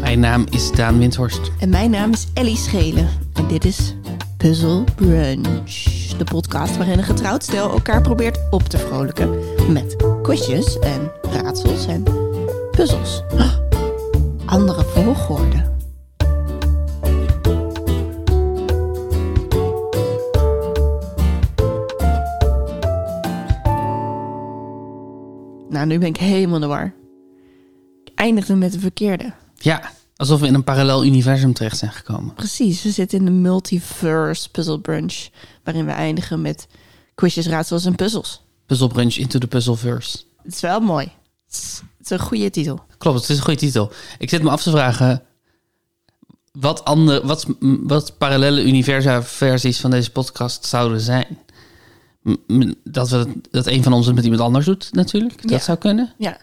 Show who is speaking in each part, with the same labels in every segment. Speaker 1: Mijn naam is Daan Windhorst.
Speaker 2: En mijn naam is Ellie Schelen. En dit is Puzzle Brunch. De podcast waarin een getrouwd stel elkaar probeert op te vrolijken. Met quizjes en raadsels en puzzels. Oh, andere volgorde. Nou, nu ben ik helemaal in de war. Ik eindigde met de verkeerde.
Speaker 1: Ja, alsof we in een parallel universum terecht zijn gekomen.
Speaker 2: Precies, we zitten in de multiverse puzzle brunch, waarin we eindigen met quizjes, raadsels en puzzels.
Speaker 1: Puzzle Brunch into the Puzzleverse.
Speaker 2: Het is wel mooi. Het is- het is een goede titel.
Speaker 1: Klopt, het is een goede titel. Ik zit me af te vragen... Wat, andere, wat, wat parallele universa versies van deze podcast zouden zijn. M- m- Dat, we, het- dat een van ons het met iemand anders doet, natuurlijk. Dat
Speaker 2: Ja.
Speaker 1: zou kunnen.
Speaker 2: Ja.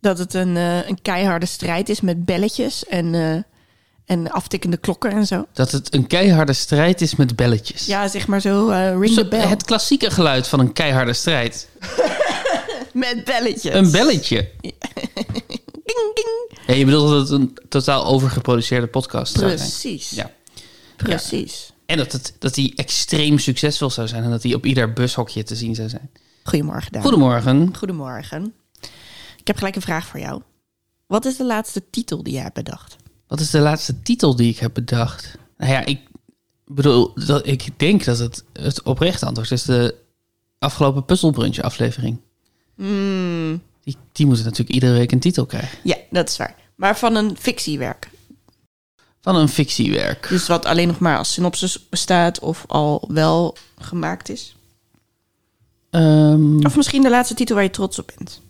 Speaker 2: Dat het een, eh, een keiharde strijd is met belletjes en, eh, en aftikkende klokken en zo.
Speaker 1: Dat het een keiharde strijd is met belletjes.
Speaker 2: Ja, zeg maar zo, eh, ring
Speaker 1: Zo-
Speaker 2: the bell.
Speaker 1: Het klassieke geluid van een keiharde strijd.
Speaker 2: Met belletjes.
Speaker 1: Een belletje.
Speaker 2: Ding, ding.
Speaker 1: Ja, je bedoelt dat het een totaal overgeproduceerde podcast zou zijn.
Speaker 2: Precies,
Speaker 1: Ja.
Speaker 2: precies.
Speaker 1: En dat, het, dat die extreem succesvol zou zijn en dat die op ieder bushokje te zien zou zijn.
Speaker 2: Goedemorgen, Daan.
Speaker 1: Goedemorgen.
Speaker 2: Goedemorgen. Ik heb gelijk een vraag voor jou. Wat is de laatste titel die jij hebt bedacht?
Speaker 1: Wat is de laatste titel die ik heb bedacht? Nou ja, ik bedoel, dat, ik denk dat het het oprechte antwoord is de afgelopen puzzelbrunch aflevering.
Speaker 2: Hmm,
Speaker 1: Die, die moeten natuurlijk iedere week een titel krijgen.
Speaker 2: Ja, dat is waar. Maar van een fictiewerk.
Speaker 1: Van een fictiewerk.
Speaker 2: Dus wat alleen nog maar als synopsis bestaat of al wel gemaakt is.
Speaker 1: Ehm,
Speaker 2: Of misschien de laatste titel waar je trots op bent.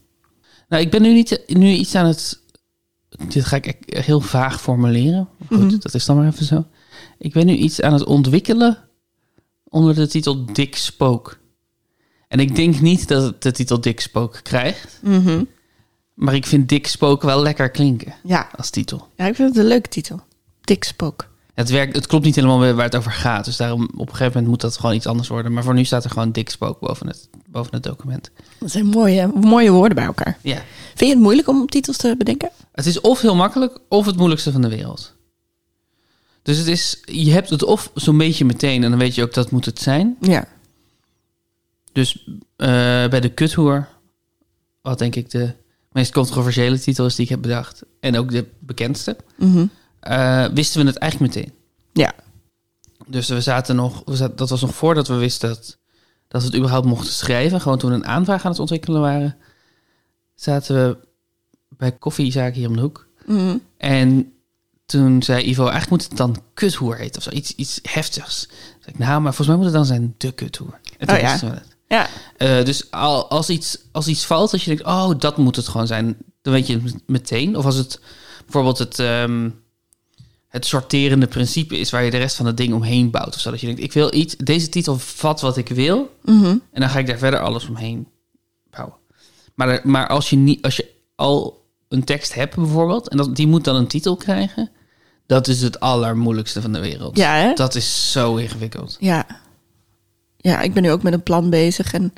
Speaker 1: nou, ik ben nu, niet, nu iets aan het... Dit ga ik echt heel vaag formuleren. Maar Goed, dat is dan maar even zo. Ik ben nu iets aan het ontwikkelen onder de titel Dik Spook. En ik denk niet dat het de titel Dik Spook krijgt.
Speaker 2: Mhm.
Speaker 1: Maar ik vind Dik Spook wel lekker klinken
Speaker 2: Ja.
Speaker 1: als titel.
Speaker 2: ja, ik vind het een leuke titel. Dik spook.
Speaker 1: Het, werkt, het klopt niet helemaal bij waar het over gaat. Dus daarom op een gegeven moment moet dat gewoon iets anders worden. Maar voor nu staat er gewoon Dik Spook boven het, boven het document.
Speaker 2: Dat zijn mooie, mooie woorden bij elkaar.
Speaker 1: Ja.
Speaker 2: Vind je het moeilijk om titels te bedenken?
Speaker 1: Het is of heel makkelijk of het moeilijkste van de wereld. Dus het is, je hebt het of zo'n beetje meteen en dan weet je ook dat moet het zijn.
Speaker 2: Ja.
Speaker 1: Dus eh, bij de kuthoer, wat denk ik de meest controversiële titel is die ik heb bedacht. En ook de bekendste. eh, wisten we het eigenlijk meteen.
Speaker 2: Mhm. Ja.
Speaker 1: Dus we zaten nog, we zaten- dat was nog voordat we wisten dat, dat we het überhaupt mochten schrijven. Gewoon toen we een aanvraag aan het ontwikkelen waren, zaten we bij koffiezaak hier om de hoek.
Speaker 2: Mhm.
Speaker 1: En toen zei Ivo, eigenlijk moet het dan kuthoer heten of zo. Iets, iets heftigs. Toen zei ik, nou, maar volgens mij moet het dan zijn de kuthoer. En toen
Speaker 2: Oh ja.
Speaker 1: wisten we het.
Speaker 2: Ja.
Speaker 1: Eh, dus al, als, iets, als iets valt, als je denkt, oh, dat moet het gewoon zijn, dan weet je het m- meteen. Of als het bijvoorbeeld het, ehm, het sorterende principe is waar je de rest van het ding omheen bouwt. Of zo, dat je denkt, ik wil iets, deze titel vat wat ik wil.
Speaker 2: Mhm.
Speaker 1: En dan ga ik daar verder alles omheen bouwen. Maar, er- maar als, je niet, als je al een tekst hebt bijvoorbeeld, en dat, die moet dan een titel krijgen, dat is het allermoeilijkste van de wereld.
Speaker 2: Ja, hè?
Speaker 1: Dat is zo ingewikkeld.
Speaker 2: Ja. Ja, ik ben nu ook met een plan bezig en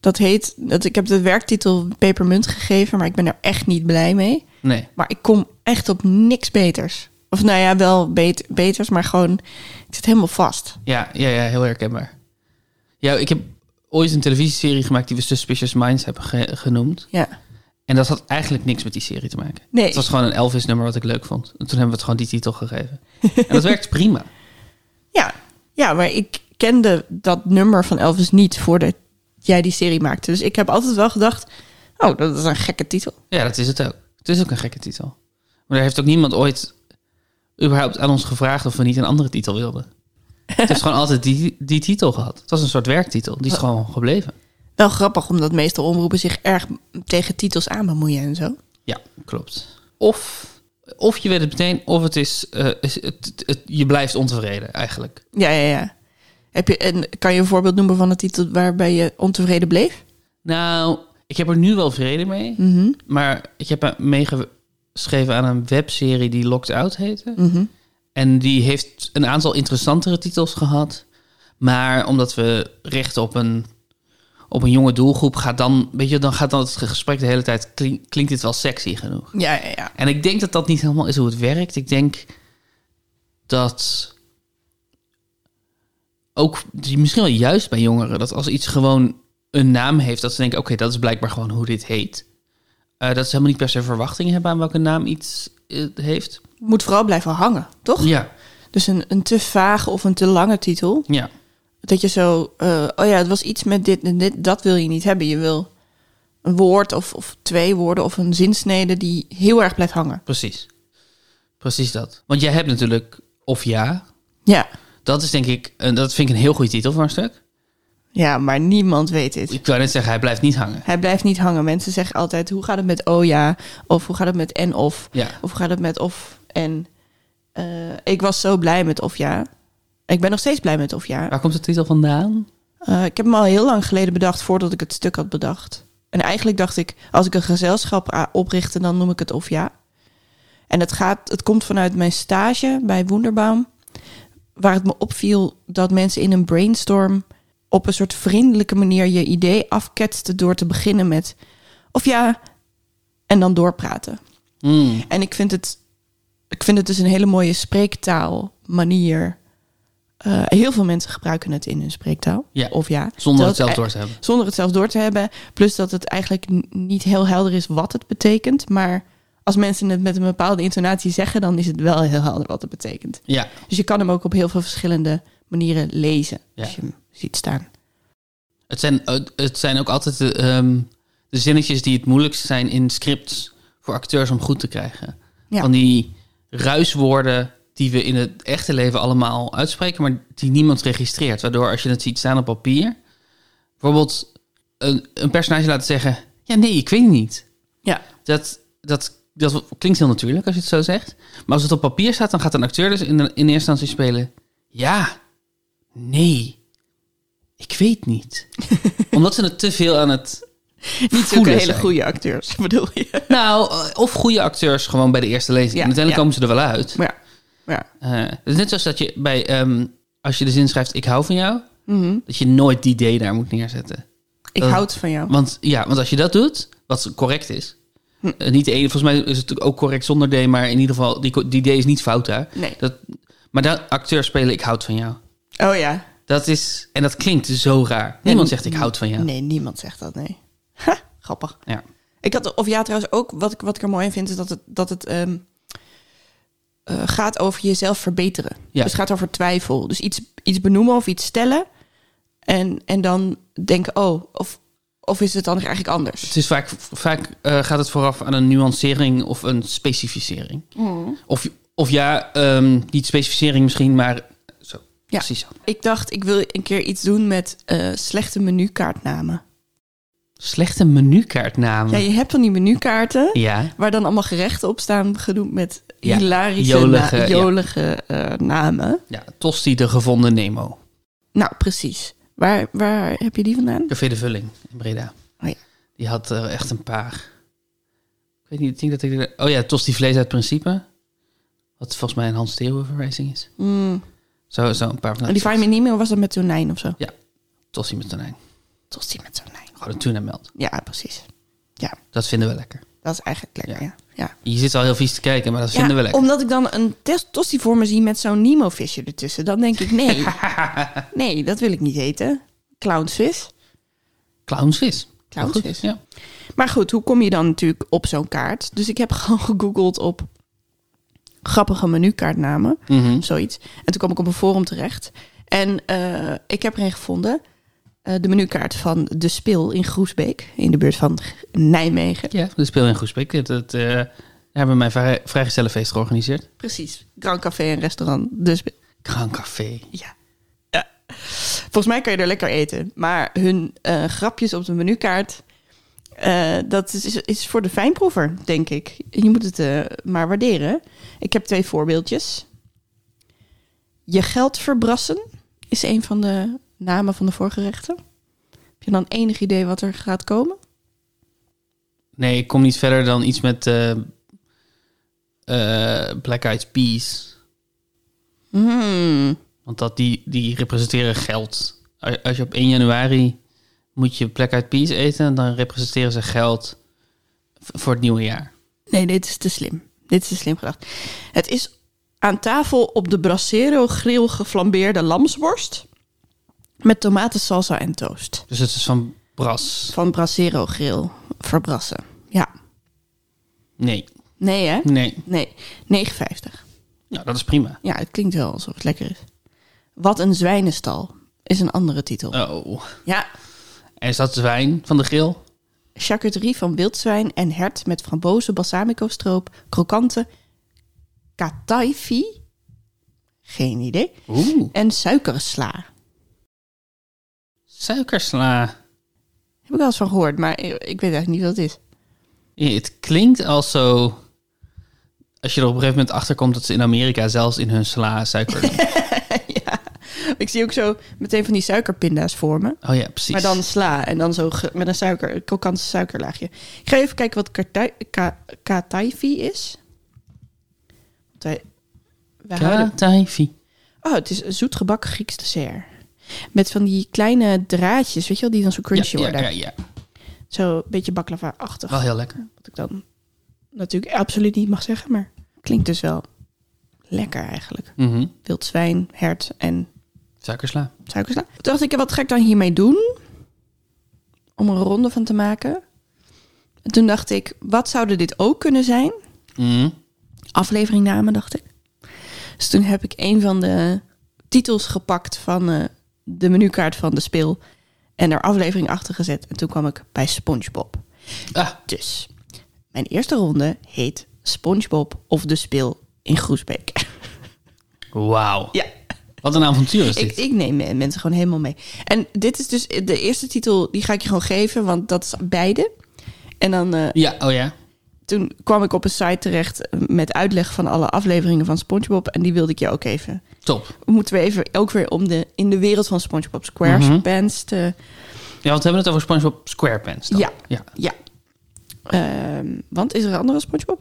Speaker 2: dat heet, dat, ik heb de werktitel Pepermunt gegeven, maar ik ben er echt niet blij mee.
Speaker 1: Nee.
Speaker 2: Maar ik kom echt op niks beters. Of nou ja, wel bet- beters, maar gewoon, ik zit helemaal vast.
Speaker 1: Ja, ja, ja, heel herkenbaar. Ja, ik heb ooit een televisieserie gemaakt die we Suspicious Minds hebben ge- genoemd.
Speaker 2: Ja.
Speaker 1: En dat had eigenlijk niks met die serie te maken.
Speaker 2: Nee.
Speaker 1: Het was gewoon een Elvis-nummer wat ik leuk vond. En toen hebben we het gewoon die titel gegeven. En dat werkt prima.
Speaker 2: Ja, ja maar ik kende dat nummer van Elvis niet voordat jij die serie maakte. Dus ik heb altijd wel gedacht, oh, dat is een gekke titel.
Speaker 1: Ja, dat is het ook. Het is ook een gekke titel. Maar er heeft ook niemand ooit überhaupt aan ons gevraagd of we niet een andere titel wilden. Het is gewoon altijd die, die titel gehad. Het was een soort werktitel. Die is gewoon gebleven.
Speaker 2: Wel grappig, omdat meeste omroepen zich erg tegen titels aan bemoeien en zo.
Speaker 1: Ja, klopt. Of, of je weet het meteen, of het is, eh, is- het, het- het- je blijft ontevreden eigenlijk.
Speaker 2: Ja, ja, ja. Heb je, en kan je een voorbeeld noemen van een titel waarbij je ontevreden bleef?
Speaker 1: Nou, ik heb er nu wel vrede mee,
Speaker 2: Mhm.
Speaker 1: maar ik heb meegeschreven aan een webserie die Locked Out heette. En die heeft een aantal interessantere titels gehad, maar omdat we richten op een op een jonge doelgroep gaat dan, weet je, dan gaat dan het gesprek de hele tijd, klink- klinkt dit wel sexy genoeg.
Speaker 2: Ja, ja, ja.
Speaker 1: En ik denk dat dat niet helemaal is hoe het werkt. Ik denk dat ook die- misschien wel juist bij jongeren, dat als iets gewoon een naam heeft, dat ze denken, oké, dat is blijkbaar gewoon hoe dit heet. Eh, dat ze helemaal niet per se verwachtingen hebben aan welke naam iets eh, heeft.
Speaker 2: Moet vooral blijven hangen, toch?
Speaker 1: Ja,
Speaker 2: Dus een, een te vage of een te lange titel.
Speaker 1: ja.
Speaker 2: Dat je zo, eh, oh ja, het was iets met dit en dit, dat wil je niet hebben. Je wil een woord of, of twee woorden of een zinsnede die heel erg blijft hangen.
Speaker 1: Precies. Precies dat. Want jij hebt natuurlijk of ja.
Speaker 2: Ja,
Speaker 1: Dat is denk ik, een- dat vind ik een heel goede titel voor een stuk.
Speaker 2: ja maar niemand weet dit.
Speaker 1: Ik wou net zeggen, hij blijft niet hangen.
Speaker 2: Hij blijft niet hangen. Mensen zeggen altijd, hoe gaat het met oh ja? Of hoe gaat het met en of?
Speaker 1: Ja,
Speaker 2: Of hoe gaat het met of en? Eh, ik was zo blij met of ja. Ik ben nog steeds blij met of ja.
Speaker 1: waar komt de titel vandaan?
Speaker 2: Eh, ik heb hem al heel lang geleden bedacht voordat ik het stuk had bedacht. En eigenlijk dacht ik, als ik een gezelschap a- oprichtte, dan noem ik het of ja. En het, gaat, het komt vanuit mijn stage bij Wonderbaum. Waar het me opviel dat mensen in een brainstorm op een soort vriendelijke manier je idee afketsten door te beginnen met of ja en dan doorpraten.
Speaker 1: Hmm.
Speaker 2: En ik vind het, ik vind het dus een hele mooie spreektaal manier. Eh, heel veel mensen gebruiken het in hun spreektaal.
Speaker 1: Ja.
Speaker 2: Of ja.
Speaker 1: Zonder het
Speaker 2: Dat- e-
Speaker 1: zelf door te hebben.
Speaker 2: Zonder het zelf door te hebben. Plus dat het eigenlijk n- niet heel helder is wat het betekent. Maar als mensen het met een bepaalde intonatie zeggen, dan is het wel heel helder wat het betekent.
Speaker 1: Ja,
Speaker 2: Dus je kan hem ook op heel veel verschillende manieren lezen.
Speaker 1: Ja.
Speaker 2: Als je hem ziet staan.
Speaker 1: het zijn, eh, het zijn ook altijd de, ehm, de zinnetjes die het moeilijkst zijn in scripts voor acteurs om goed te krijgen.
Speaker 2: Ja.
Speaker 1: Van die ruiswoorden die we in het echte leven allemaal uitspreken, maar die niemand registreert. Waardoor als je het ziet staan op papier, bijvoorbeeld een, een personage laten zeggen, ja nee, ik weet het niet.
Speaker 2: Ja.
Speaker 1: dat, dat, dat klinkt heel natuurlijk als je het zo zegt. Maar als het op papier staat, dan gaat een acteur dus in, in eerste instantie spelen. Ja, nee, ik weet niet. Omdat ze het te veel aan het.
Speaker 2: Niet zulke
Speaker 1: Voelen
Speaker 2: hele
Speaker 1: zijn.
Speaker 2: goede acteurs, bedoel je.
Speaker 1: Nou, eh, of goede acteurs gewoon bij de eerste lezing.
Speaker 2: Ja,
Speaker 1: en uiteindelijk
Speaker 2: ja.
Speaker 1: komen ze er wel uit.
Speaker 2: Maar ja. ja.
Speaker 1: Eh, het is net zoals dat je bij. ehm, als je de zin schrijft: Ik hou van jou.
Speaker 2: Mhm.
Speaker 1: Dat je nooit die D daar moet neerzetten.
Speaker 2: Ik
Speaker 1: Eh,
Speaker 2: houd van jou.
Speaker 1: Want ja, want als je dat doet, wat correct is.
Speaker 2: Hm.
Speaker 1: eh, Niet de ene, volgens mij is het ook correct zonder D, maar in ieder geval, die, co- die D is niet fout daar.
Speaker 2: Nee.
Speaker 1: Dat, maar dat acteur spelen, ik houd van jou.
Speaker 2: Oh ja.
Speaker 1: Dat is, en dat klinkt dus zo raar. Niemand zegt ik houd van jou.
Speaker 2: Nee, niemand zegt dat, nee. Ha, grappig.
Speaker 1: Ja.
Speaker 2: Ik had, of ja, trouwens ook, wat ik, wat ik er mooi in vind, is dat het, dat het ehm, eh, gaat over jezelf verbeteren.
Speaker 1: Ja.
Speaker 2: Dus het gaat over twijfel. Dus iets, iets benoemen of iets stellen. En, en dan denken, oh, of, of is het dan eigenlijk anders?
Speaker 1: Het is vaak, vaak eh, gaat het vooraf aan een nuancering of een specificering.
Speaker 2: Hmm.
Speaker 1: Of, of ja, ehm, niet specificering misschien, maar zo.
Speaker 2: Ja.
Speaker 1: Precies zo.
Speaker 2: Ik dacht, ik wil een keer iets doen met eh, slechte menukaartnamen.
Speaker 1: Slechte menukaartnamen.
Speaker 2: Ja, je hebt dan die menukaarten
Speaker 1: ja.
Speaker 2: waar dan allemaal gerechten op staan, genoemd met
Speaker 1: Ja,
Speaker 2: hilarische,
Speaker 1: jolige, ja.
Speaker 2: na- jolige eh, namen.
Speaker 1: ja, Tosti de gevonden Nemo.
Speaker 2: Nou, precies. Waar, waar heb je die vandaan?
Speaker 1: Café de Vulling in Breda.
Speaker 2: Oh ja.
Speaker 1: Die had er echt een paar. Ik weet niet, ik denk dat ik... Oh ja, Tosti Vlees uit Principe. Wat volgens mij een Hans Theeuwen verwijzing is.
Speaker 2: Mm.
Speaker 1: Zo, zo een paar van
Speaker 2: En Oh, die Fine niet meer was dat met tonijn of zo?
Speaker 1: Tosti met tonijn.
Speaker 2: Tot die met tonijn.
Speaker 1: Gewoon een tuna melt.
Speaker 2: Ja, precies.
Speaker 1: Dat vinden we lekker.
Speaker 2: Dat is eigenlijk lekker, ja. ja.
Speaker 1: Je zit al heel vies te kijken, maar dat vinden we
Speaker 2: Ja,
Speaker 1: lekker.
Speaker 2: omdat ik dan een test tosti voor me zie met zo'n Nemo-visje ertussen. Dan denk ik, nee, nee, dat wil ik niet eten. Clownsvis.
Speaker 1: Clownsvis.
Speaker 2: Clownsvis.
Speaker 1: Heel goed, Ja.
Speaker 2: Maar goed, hoe kom je dan natuurlijk op zo'n kaart? Dus ik heb gewoon gegoogeld op grappige menukaartnamen.
Speaker 1: Mhm.
Speaker 2: zoiets. En toen kwam ik op een forum terecht. En eh, ik heb er een gevonden. Eh, de menukaart van De Spil in Groesbeek, in de buurt van G- Nijmegen.
Speaker 1: ja, de speel in Groesbeek. Dat, dat, eh, daar hebben we mijn vrij, vrijgezellenfeest georganiseerd.
Speaker 2: Precies, Grand Café en restaurant De Spil.
Speaker 1: Grand Café.
Speaker 2: Ja. ja. Volgens mij kan je er lekker eten. Maar hun eh, grapjes op de menukaart, eh, dat is, is, is voor de fijnproever, denk ik. Je moet het eh, maar waarderen. Ik heb twee voorbeeldjes. Je geld verbrassen is een van de namen van de voorgerechten. Heb je dan enig idee wat er gaat komen?
Speaker 1: Nee, ik kom niet verder dan iets met eh, eh, Black Eyed Peas.
Speaker 2: Hmm.
Speaker 1: Want dat, die, die representeren geld. Als als je op 1 januari moet je Black Eyed Peas eten en dan representeren ze geld v- voor het nieuwe jaar.
Speaker 2: Nee, dit is te slim. Dit is te slim gedacht. Het is aan tafel op de bracero grill geflambeerde lamsworst. Met tomatensalsa en toast.
Speaker 1: Dus het is van Bras.
Speaker 2: Van bracero grill. Verbrassen. Ja.
Speaker 1: Nee,
Speaker 2: Nee hè?
Speaker 1: nee.
Speaker 2: Nee. 9,50.
Speaker 1: Nou, dat is prima.
Speaker 2: Ja, het klinkt wel alsof het lekker is. Wat een zwijnenstal is een andere titel.
Speaker 1: Oh.
Speaker 2: Ja.
Speaker 1: En is dat zwijn van de grill?
Speaker 2: Charcuterie van wildzwijn en hert met frambozen, balsamico stroop, krokante kataifi. Geen idee.
Speaker 1: Oeh.
Speaker 2: En suikersla.
Speaker 1: Suikersla.
Speaker 2: Heb ik wel eens van gehoord, maar ik ik weet eigenlijk niet wat het is.
Speaker 1: Ja, het klinkt al zo. Als je er op een gegeven moment achter komt dat ze in Amerika zelfs in hun sla suiker. doen.
Speaker 2: Ik zie ook zo meteen van die suikerpinda's voor me.
Speaker 1: oh ja, precies.
Speaker 2: Maar dan sla en dan zo ge- met een suiker, een krokante suikerlaagje. Ik ga even kijken wat kartai- ka- kataifi is. Want wij- wij houden-
Speaker 1: Kataifi.
Speaker 2: Oh, het is een zoetgebakken Grieks dessert. Met van die kleine draadjes, weet je wel, die dan zo
Speaker 1: Ja,
Speaker 2: crunchy
Speaker 1: ja,
Speaker 2: worden.
Speaker 1: ja, ja.
Speaker 2: Zo een beetje baklava-achtig.
Speaker 1: Wel heel lekker.
Speaker 2: Wat ik dan natuurlijk absoluut niet mag zeggen, maar klinkt dus wel lekker eigenlijk.
Speaker 1: Mhm.
Speaker 2: Wild zwijn, hert en
Speaker 1: Suikersla.
Speaker 2: suikersla. Toen dacht ik, wat ga ik dan hiermee doen? Om een ronde van te maken. En toen dacht ik, wat zouden dit ook kunnen zijn?
Speaker 1: Mhm.
Speaker 2: Afleveringnamen, dacht ik. Dus toen heb ik een van de titels gepakt van eh, de menukaart van de speel. En er aflevering achter gezet. En toen kwam ik bij Spongebob.
Speaker 1: Ah,
Speaker 2: Dus, mijn eerste ronde heet Spongebob of de speel in Groesbeek.
Speaker 1: wauw.
Speaker 2: ja,
Speaker 1: Wat een avontuur is
Speaker 2: ik,
Speaker 1: dit.
Speaker 2: ik neem me- mensen gewoon helemaal mee. En dit is dus de eerste titel, die ga ik je gewoon geven, want dat is beide. En dan, eh,
Speaker 1: Ja, oh ja.
Speaker 2: toen kwam ik op een site terecht eh, met uitleg van alle afleveringen van Spongebob. En die wilde ik je ook even.
Speaker 1: Top.
Speaker 2: Moeten we even ook weer om de, in de wereld van Spongebob Squarepants te...
Speaker 1: Ja, want we hebben het over SpongeBob SquarePants. Dan.
Speaker 2: Ja.
Speaker 1: ja.
Speaker 2: Ja. Ehm, want is er een andere Spongebob?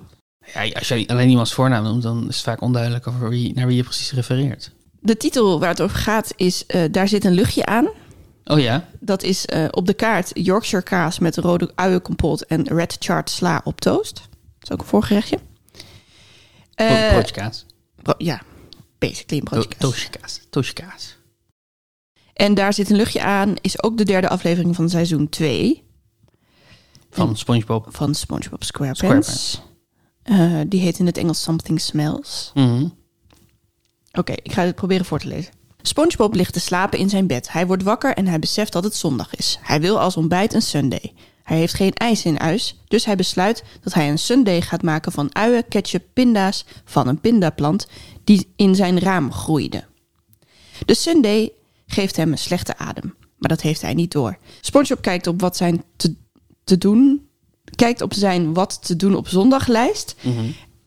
Speaker 1: Ja, als je alleen iemands voornaam noemt, dan is het vaak onduidelijk over wie, naar wie je precies refereert.
Speaker 2: De titel waar het over gaat is eh, Daar zit een luchtje aan.
Speaker 1: Oh ja,
Speaker 2: Dat is eh, op de kaart Yorkshire kaas met rode uienkompot en red chard sla op toast. Dat is ook een voorgerechtje.
Speaker 1: uh,
Speaker 2: Eh,
Speaker 1: broodjekaas.
Speaker 2: bro- ja, basically een broodje kaas.
Speaker 1: Toosjekaas. Toosjekaas.
Speaker 2: En daar zit een luchtje aan is ook de derde aflevering van seizoen 2
Speaker 1: Van SpongeBob.
Speaker 2: van SpongeBob SquarePants.
Speaker 1: SquarePants.
Speaker 2: Eh, die heet in het Engels Something Smells.
Speaker 1: Mhm.
Speaker 2: Oké, ik ga het proberen voor te lezen. SpongeBob ligt te slapen in zijn bed. Hij wordt wakker en hij beseft dat het zondag is. Hij wil als ontbijt een sundae. Hij heeft geen ijs in huis, dus hij besluit dat hij een sundae gaat maken van uien, ketchup, pinda's van een pindaplant die in zijn raam groeide. De sundae geeft hem een slechte adem, maar dat heeft hij niet door. SpongeBob kijkt op wat zijn te, te doen, kijkt op zijn wat te doen op zondaglijst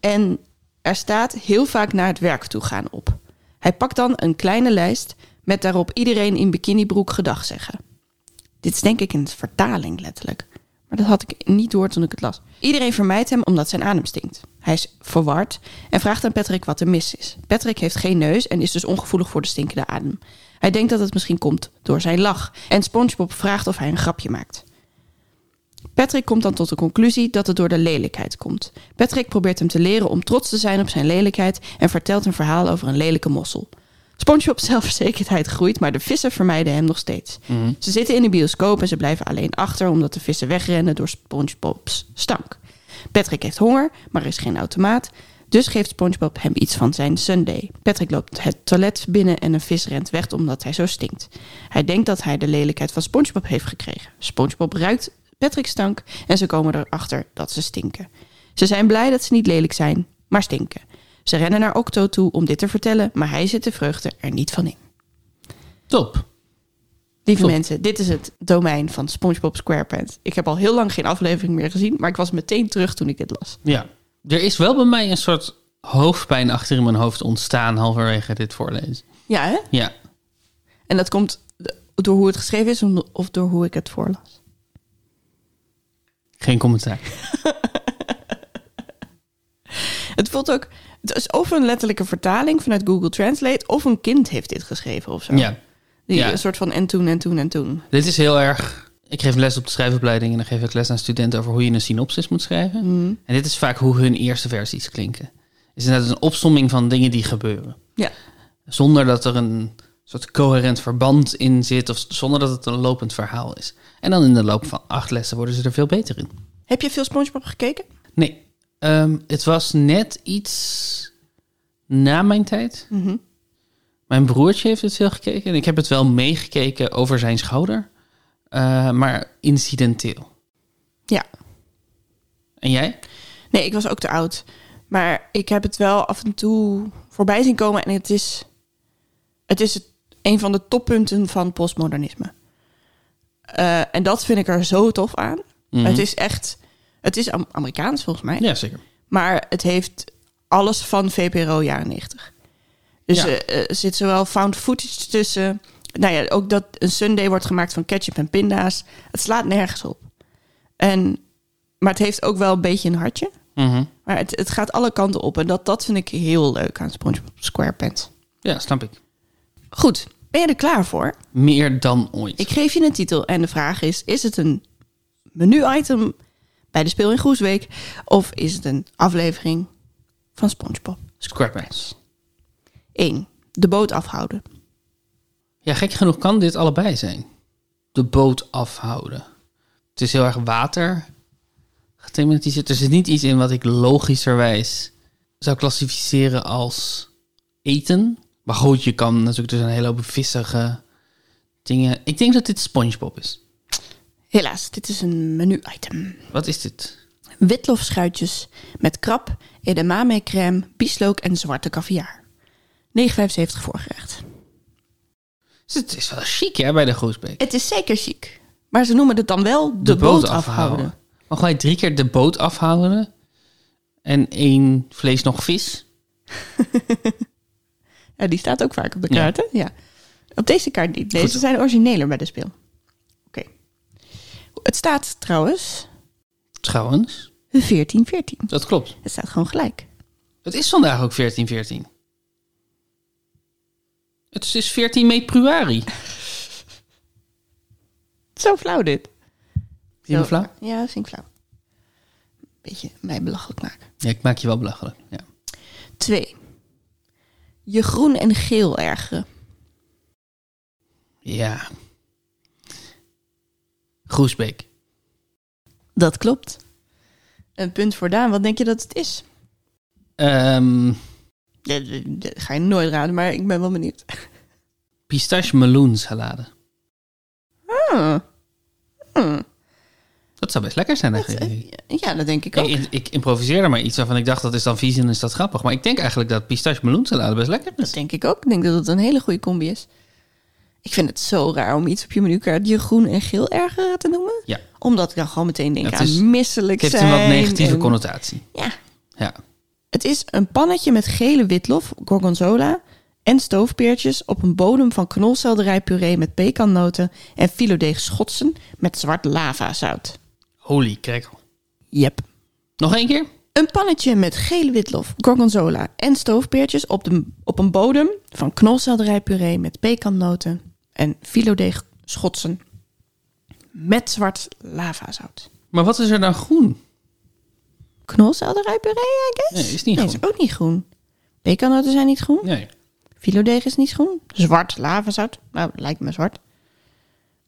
Speaker 2: en er staat heel vaak naar het werk toe gaan op. Hij pakt dan een kleine lijst met daarop iedereen in bikinibroek gedag zeggen. Dit is denk ik een vertaling letterlijk. Maar dat had ik niet door toen ik het las. Iedereen vermijdt hem omdat zijn adem stinkt. Hij is verward en vraagt aan Patrick wat er mis is. Patrick heeft geen neus en is dus ongevoelig voor de stinkende adem. Hij denkt dat het misschien komt door zijn lach. En SpongeBob vraagt of hij een grapje maakt. Patrick komt dan tot de conclusie dat het door de lelijkheid komt. Patrick probeert hem te leren om trots te zijn op zijn lelijkheid en vertelt een verhaal over een lelijke mossel. SpongeBob's zelfverzekerdheid groeit, maar de vissen vermijden hem nog steeds. Ze zitten in de bioscoop en ze blijven alleen achter omdat de vissen wegrennen door SpongeBob's stank. Patrick heeft honger, maar er is geen automaat, dus geeft SpongeBob hem iets van zijn Sunday. Patrick loopt het toilet binnen en een vis rent weg omdat hij zo stinkt. Hij denkt dat hij de lelijkheid van SpongeBob heeft gekregen. SpongeBob ruikt Patrick stank en ze komen erachter dat ze stinken. Ze zijn blij dat ze niet lelijk zijn, maar stinken. Ze rennen naar Octo toe om dit te vertellen, maar hij zit de vreugde er niet van in.
Speaker 1: Top.
Speaker 2: Lieve
Speaker 1: Klopt.
Speaker 2: mensen, dit is het domein van SpongeBob SquarePants. Ik heb al heel lang geen aflevering meer gezien, maar ik was meteen terug toen ik dit las.
Speaker 1: Ja. Er is wel bij mij een soort hoofdpijn achter in mijn hoofd ontstaan halverwege dit voorlezen.
Speaker 2: Ja, hè?
Speaker 1: Ja.
Speaker 2: En dat komt door hoe het geschreven is of door hoe ik het voorlas.
Speaker 1: Geen commentaar.
Speaker 2: Het voelt ook, het is of een letterlijke vertaling vanuit Google Translate, of een kind heeft dit geschreven of zo.
Speaker 1: Ja.
Speaker 2: Die
Speaker 1: ja.
Speaker 2: een soort van en toen en toen en toen.
Speaker 1: Dit is heel erg ik geef les op de schrijfopleiding en dan geef ik les aan studenten over hoe je een synopsis moet schrijven. En dit is vaak hoe hun eerste versies klinken. Het is inderdaad een opsomming van dingen die gebeuren.
Speaker 2: Ja.
Speaker 1: Zonder dat er een soort coherent verband in zit of zonder dat het een lopend verhaal is. En dan in de loop van acht lessen worden ze er veel beter in.
Speaker 2: Heb je veel SpongeBob gekeken?
Speaker 1: Nee, ehm, het was net iets na mijn tijd. Mijn broertje heeft het veel gekeken en ik heb het wel meegekeken over zijn schouder, eh, maar incidenteel.
Speaker 2: Ja.
Speaker 1: En jij?
Speaker 2: Nee, ik was ook te oud. Maar ik heb het wel af en toe voorbij zien komen. En het is, het is het, een van de toppunten van postmodernisme. Eh, en dat vind ik er zo tof aan.
Speaker 1: Mhm.
Speaker 2: Het is echt... Het is Am- Amerikaans volgens mij.
Speaker 1: Ja, zeker.
Speaker 2: Maar het heeft alles van VPRO jaren 90. Dus
Speaker 1: Ja.
Speaker 2: eh, er zit zowel found footage tussen. Nou ja, ook dat een Sunday wordt gemaakt van ketchup en pinda's. Het slaat nergens op. En, maar het heeft ook wel een beetje een hartje.
Speaker 1: Mhm.
Speaker 2: Maar het, het gaat alle kanten op. En dat, dat vind ik heel leuk aan SpongeBob SquarePants.
Speaker 1: Ja, snap ik.
Speaker 2: Goed, ben je er klaar voor?
Speaker 1: Meer dan ooit.
Speaker 2: Ik geef je een titel en de vraag is... is het een menu-item bij de Speel in Groesweek... of is het een aflevering van SpongeBob?
Speaker 1: SquarePants.
Speaker 2: 1. De boot afhouden.
Speaker 1: Ja, gek genoeg kan dit allebei zijn. De boot afhouden. Het is heel erg water gethematiseerd. Er zit niet iets in wat ik logischerwijs zou klassificeren als eten. Maar goed, je kan natuurlijk dus een hele hoop vissige dingen. Ik denk dat dit SpongeBob is.
Speaker 2: Helaas, dit is een menu-item.
Speaker 1: Wat is dit?
Speaker 2: Witlofschuitjes met krab, edamame crème, bieslook en zwarte kaviaar. 9,75 voorgerecht.
Speaker 1: Dus het is wel chic hè, bij de Groesbeek.
Speaker 2: Het is zeker chic. Maar ze noemen het dan wel de, boot, afhouden.
Speaker 1: Mag wij drie keer de boot afhouden? En één vlees nog vis?
Speaker 2: Ja, die staat ook vaak op de
Speaker 1: Ja.
Speaker 2: kaart, hè? Ja. Op deze kaart niet. Deze
Speaker 1: Goed.
Speaker 2: zijn origineler bij de speel. Oké. Het staat trouwens
Speaker 1: Trouwens,
Speaker 2: 14-14.
Speaker 1: dat klopt.
Speaker 2: Het staat gewoon gelijk.
Speaker 1: Het is vandaag ook 14-14. Het is dus 14 meepruari.
Speaker 2: Zo flauw dit.
Speaker 1: Vind
Speaker 2: Zo-
Speaker 1: je flauw?
Speaker 2: Ja, dat vind ik flauw. Beetje mij belachelijk maken.
Speaker 1: Ja, ik maak je wel belachelijk. Ja.
Speaker 2: Twee. Je groen en geel ergeren.
Speaker 1: ja. Groesbeek.
Speaker 2: Dat klopt. Een punt voor Daan. Wat denk je dat het is?
Speaker 1: Ehm
Speaker 2: Ja, d- d- Dat ga je nooit raden, maar ik ben wel benieuwd.
Speaker 1: pistache meloen salade.
Speaker 2: Ah. Hmm.
Speaker 1: Dat zou best lekker zijn
Speaker 2: Dat- eh,
Speaker 1: eigenlijk.
Speaker 2: ja, dat denk ik
Speaker 1: ik,
Speaker 2: ook.
Speaker 1: ik, ik improviseerde maar iets waarvan ik dacht dat is dan vies en is dat grappig. Maar ik denk eigenlijk dat pistache meloen salade best lekker
Speaker 2: Dat
Speaker 1: is.
Speaker 2: denk ik ook. Ik denk dat het een hele goede combi is. Ik vind het zo raar om iets op je menukaart je groen en geel erger te noemen.
Speaker 1: Ja.
Speaker 2: Omdat ik dan gewoon meteen denk
Speaker 1: Ja, het
Speaker 2: aan
Speaker 1: is-
Speaker 2: misselijk
Speaker 1: Het heeft
Speaker 2: zijn.
Speaker 1: een wat negatieve
Speaker 2: en-
Speaker 1: connotatie.
Speaker 2: Ja.
Speaker 1: Ja.
Speaker 2: Het is een pannetje met gele witlof, gorgonzola en stoofpeertjes op een bodem van knolselderijpuree met pekannoten en filodeeg schotsen met zwart lavazout.
Speaker 1: Holy crackle.
Speaker 2: Yep.
Speaker 1: Nog één keer?
Speaker 2: Een pannetje met gele witlof, gorgonzola en stoofpeertjes op, de, op een bodem van knolselderijpuree met pekannoten en filodeeg schotsen met zwart lavazout.
Speaker 1: Maar wat is er dan groen?
Speaker 2: Knolselderijpuree, I guess?
Speaker 1: Nee, is niet
Speaker 2: Nee, is ook niet groen. Pekannoten zijn niet groen.
Speaker 1: Nee.
Speaker 2: Filodeeg is niet groen. Zwart lavazout. Nou, lijkt me zwart.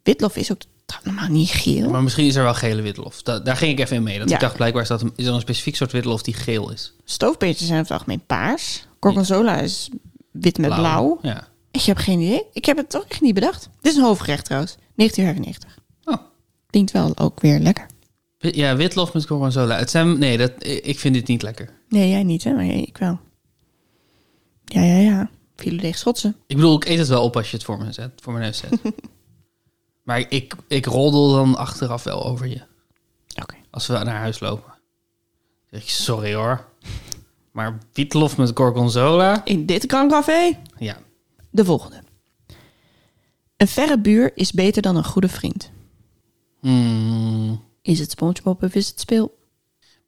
Speaker 2: Witlof is ook trouw- normaal niet geel.
Speaker 1: Maar misschien is er wel gele witlof. Da- daar ging ik even in mee. Dat
Speaker 2: Ja.
Speaker 1: ik dacht, blijkbaar is, dat een, is er een specifiek soort witlof die geel is.
Speaker 2: Stoofpeertjes zijn over het algemeen paars. Gorgonzola is wit met blauw.
Speaker 1: Ja.
Speaker 2: Ik heb geen idee. Ik heb het toch echt niet bedacht. Dit is een hoofdgerecht trouwens. 1995.
Speaker 1: Oh.
Speaker 2: Klinkt wel ook weer lekker.
Speaker 1: Wi- Ja, witlof met gorgonzola. Het zijn, nee, dat, i- ik vind dit niet lekker.
Speaker 2: Nee, jij niet hè? Maar jij- ik wel. Ja, ja, ja. Filodeeg schotsen.
Speaker 1: Ik bedoel, ik eet het wel op als je het voor, me zet, voor mijn neus zet. maar ik, ik roddel dan achteraf wel over je.
Speaker 2: Oké.
Speaker 1: Als we naar huis lopen. Dan zeg ik, sorry hoor. Maar witlof met gorgonzola?
Speaker 2: In dit krancafé.
Speaker 1: Ja.
Speaker 2: De volgende. Een verre buur is beter dan een goede vriend.
Speaker 1: Hmm.
Speaker 2: Is het Spongebob of is het speel?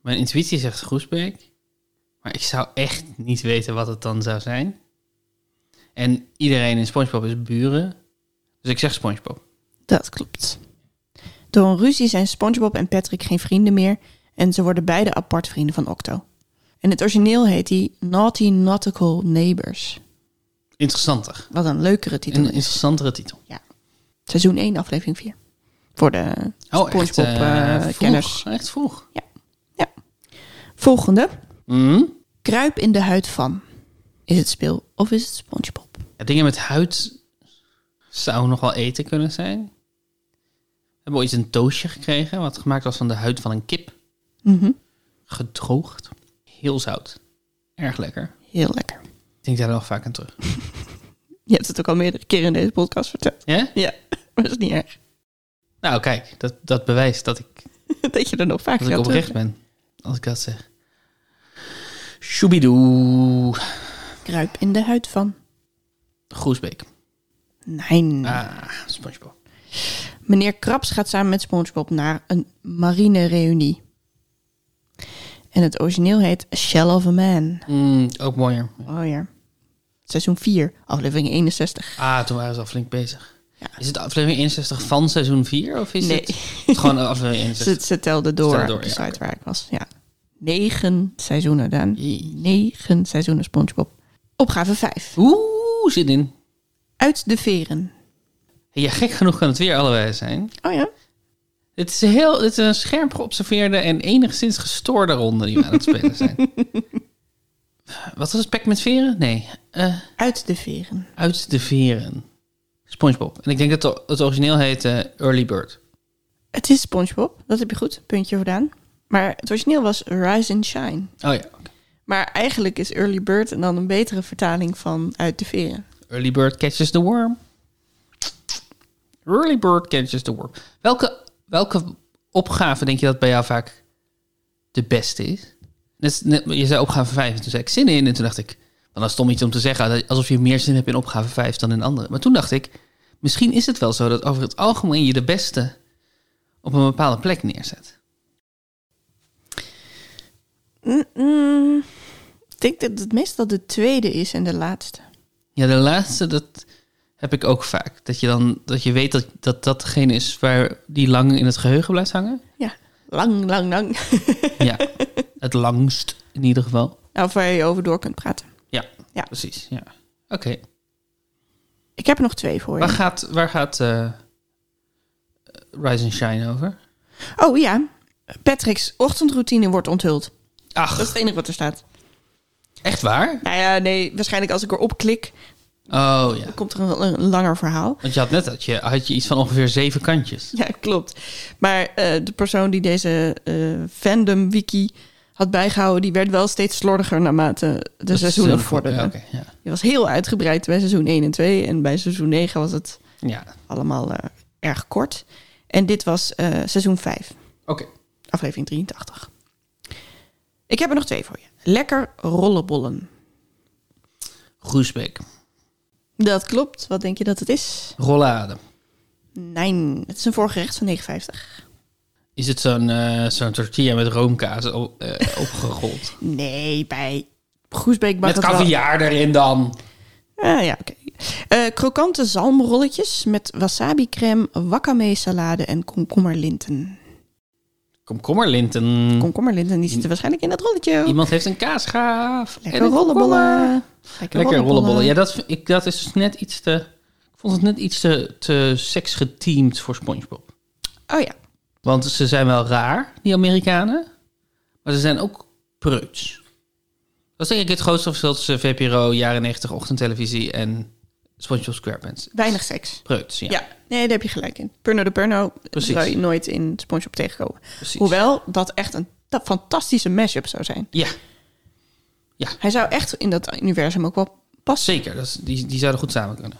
Speaker 1: Mijn intuïtie zegt Groesbeek. Maar ik zou echt niet weten wat het dan zou zijn. En iedereen in SpongeBob is buren. Dus ik zeg SpongeBob.
Speaker 2: Dat klopt. Door een ruzie zijn SpongeBob en Patrick geen vrienden meer en ze worden beide apart vrienden van Octo. In het origineel heet hij Naughty Nautical Neighbors.
Speaker 1: Interessanter.
Speaker 2: Wat een leukere titel.
Speaker 1: Een
Speaker 2: is.
Speaker 1: interessantere titel.
Speaker 2: Seizoen 1, aflevering 4. Voor de
Speaker 1: Oh, echt, eh,
Speaker 2: SpongeBob-kenners.
Speaker 1: vroeg. Echt vroeg.
Speaker 2: Volgende.
Speaker 1: Mhm.
Speaker 2: Kruip in de huid van. Is het speel of is het SpongeBob?
Speaker 1: Ja, dingen met huid zou nog wel eten kunnen zijn. We hebben ooit een doosje gekregen wat gemaakt was van de huid van een kip.
Speaker 2: Mhm.
Speaker 1: Gedroogd. Heel zout. Erg lekker.
Speaker 2: Heel lekker.
Speaker 1: Ik denk daar wel vaak aan terug.
Speaker 2: Je hebt het ook al meerdere keren in deze podcast verteld.
Speaker 1: Ja?
Speaker 2: Ja, maar dat is niet erg.
Speaker 1: Nou, kijk, dat, dat bewijst dat ik,
Speaker 2: Dat je er nog vaak
Speaker 1: dat ik oprecht ben. Als ik dat zeg. Shoebidoe.
Speaker 2: Kruip in de huid van.
Speaker 1: Groesbeek.
Speaker 2: Nee.
Speaker 1: Ah, Spongebob.
Speaker 2: Meneer Krabs gaat samen met SpongeBob naar een marine reunie. En het origineel heet A Shell of a Man.
Speaker 1: Mm, ook mooier.
Speaker 2: Oh ja. Seizoen 4, aflevering 61.
Speaker 1: Ah, toen waren ze al flink bezig.
Speaker 2: Ja.
Speaker 1: Is het aflevering 61 van seizoen 4? Of is
Speaker 2: Nee.
Speaker 1: het het gewoon aflevering 61?
Speaker 2: Ze, ze telden door,
Speaker 1: telden door,
Speaker 2: op de
Speaker 1: ja,
Speaker 2: site
Speaker 1: oké.
Speaker 2: waar ik was. Ja. Negen seizoenen dan.
Speaker 1: Jee.
Speaker 2: Negen seizoenen SpongeBob. Opgave 5.
Speaker 1: Oeh, zit in.
Speaker 2: Uit de veren.
Speaker 1: Ja, gek genoeg kan het weer allebei zijn.
Speaker 2: Oh ja.
Speaker 1: Dit is, heel, dit is een scherp geobserveerde en enigszins gestoorde ronde die we aan het spelen zijn. Wat was het? Pek met veren? Nee. eh,
Speaker 2: Uit de veren.
Speaker 1: uit de veren. Spongebob. En ik denk dat het- het origineel heet eh, Early Bird.
Speaker 2: Het is SpongeBob. Dat heb je goed. Puntje gedaan. Maar het origineel was Rise and Shine.
Speaker 1: Oh ja, oké.
Speaker 2: Maar eigenlijk is Early Bird en dan een betere vertaling van Uit de Veren.
Speaker 1: Early Bird catches the worm. Early Bird catches the worm. Welke, welke opgave denk je dat bij jou vaak de beste is? Net is net- je zei opgave 5 en toen zei ik zin in. En toen dacht ik, dan is het om iets om te zeggen. Alsof je meer zin hebt in opgave 5 dan in andere. Maar toen dacht ik, misschien is het wel zo dat over het algemeen je de beste op een bepaalde plek neerzet.
Speaker 2: Mm-mm. Ik denk dat het meestal de tweede is en de laatste.
Speaker 1: Ja, de laatste, dat heb ik ook vaak. Dat je dan dat je weet dat dat, dat degene is waar die lang in het geheugen blijft hangen.
Speaker 2: Ja, lang, lang, lang.
Speaker 1: Ja, het langst in ieder geval.
Speaker 2: Nou, of waar je over door kunt praten.
Speaker 1: Ja,
Speaker 2: Ja.
Speaker 1: precies. Ja. Oké,
Speaker 2: Ik heb er nog twee voor
Speaker 1: waar
Speaker 2: je.
Speaker 1: gaat, waar gaat eh, Rise and Shine over?
Speaker 2: Oh ja, Patrick's ochtendroutine wordt onthuld. Dat is
Speaker 1: Ach,
Speaker 2: het enige wat er staat.
Speaker 1: echt waar?
Speaker 2: Nou ja, nee, waarschijnlijk als ik erop klik,
Speaker 1: Oh ja,
Speaker 2: komt er een, een langer verhaal.
Speaker 1: want je had net dat je, had je iets van ongeveer zeven kantjes.
Speaker 2: Ja, klopt. Maar eh, de persoon die deze eh, fandom wiki had bijgehouden, die werd wel steeds slordiger naarmate de
Speaker 1: Dat is
Speaker 2: seizoenen
Speaker 1: heel goed.
Speaker 2: vorderden.
Speaker 1: Ja, oké, ja.
Speaker 2: Die was heel uitgebreid bij seizoen 1 en 2 en bij seizoen 9 was het
Speaker 1: ja.
Speaker 2: allemaal eh, erg kort. En dit was eh, seizoen 5,
Speaker 1: oké.
Speaker 2: aflevering 83. Ik heb er nog twee voor je. Lekker rollenbollen.
Speaker 1: Groesbeek,
Speaker 2: Dat klopt. Wat denk je dat het is?
Speaker 1: rollade.
Speaker 2: Nee, het is een voorgerecht van 59.
Speaker 1: Is het zo'n eh, zo'n tortilla met roomkaas op, eh, opgerold?
Speaker 2: Nee, bij Groesbeek mag
Speaker 1: met
Speaker 2: het wel.
Speaker 1: caviar erin dan.
Speaker 2: Ah, ja, oké. Eh, krokante zalmrolletjes met wasabi crème, wakame salade en komkommerlinten.
Speaker 1: Komkommerlinten.
Speaker 2: Komkommerlinten die zitten waarschijnlijk in dat rolletje.
Speaker 1: Iemand heeft een kaasgaaf. en
Speaker 2: Lekker
Speaker 1: een komkommer.
Speaker 2: rollenbollen.
Speaker 1: Lekker rollenbollen. Ja, dat, vind ik, dat is dus net iets te... Ik vond het net iets te, te seksgeteamd voor Spongebob.
Speaker 2: Oh ja.
Speaker 1: Want ze zijn wel raar, die Amerikanen. Maar ze zijn ook preuts. Dat is denk ik het grootste verschil tussen VPRO, jaren 90, ochtendtelevisie en Spongebob SquarePants.
Speaker 2: Weinig seks.
Speaker 1: Preuts, ja.
Speaker 2: Ja. nee, daar heb je gelijk in. Purno de Purno
Speaker 1: Precies.
Speaker 2: zou je nooit in SpongeBob tegenkomen.
Speaker 1: precies.
Speaker 2: Hoewel dat echt een ta- fantastische mashup zou zijn.
Speaker 1: Ja,
Speaker 2: Hij zou echt in dat universum ook wel passen.
Speaker 1: zeker. Dat is, die, die zouden goed samen kunnen.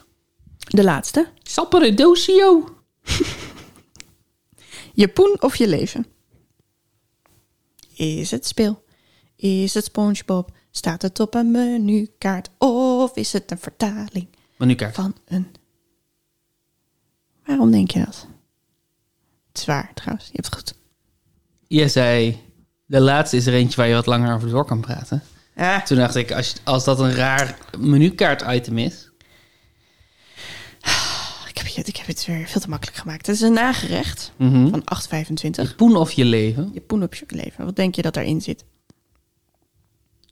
Speaker 2: De laatste.
Speaker 1: Sapperedocio.
Speaker 2: Je poen of je leven? Is het speel? Is het SpongeBob? Staat het op een menukaart? Of is het een vertaling
Speaker 1: Maar nu kijk.
Speaker 2: van een... Waarom denk je dat? Het is waar trouwens, je hebt het goed.
Speaker 1: Je zei, de laatste is er eentje waar je wat langer over door kan praten.
Speaker 2: Ja,
Speaker 1: Toen dacht ik, als, je- als dat een raar menukaart-item is...
Speaker 2: ik heb heb, je- ik heb het weer veel te makkelijk gemaakt. Het is een nagerecht
Speaker 1: Mhm.
Speaker 2: van 8,25.
Speaker 1: Poen of je leven.
Speaker 2: Je poen op je leven. Wat denk je dat daarin zit?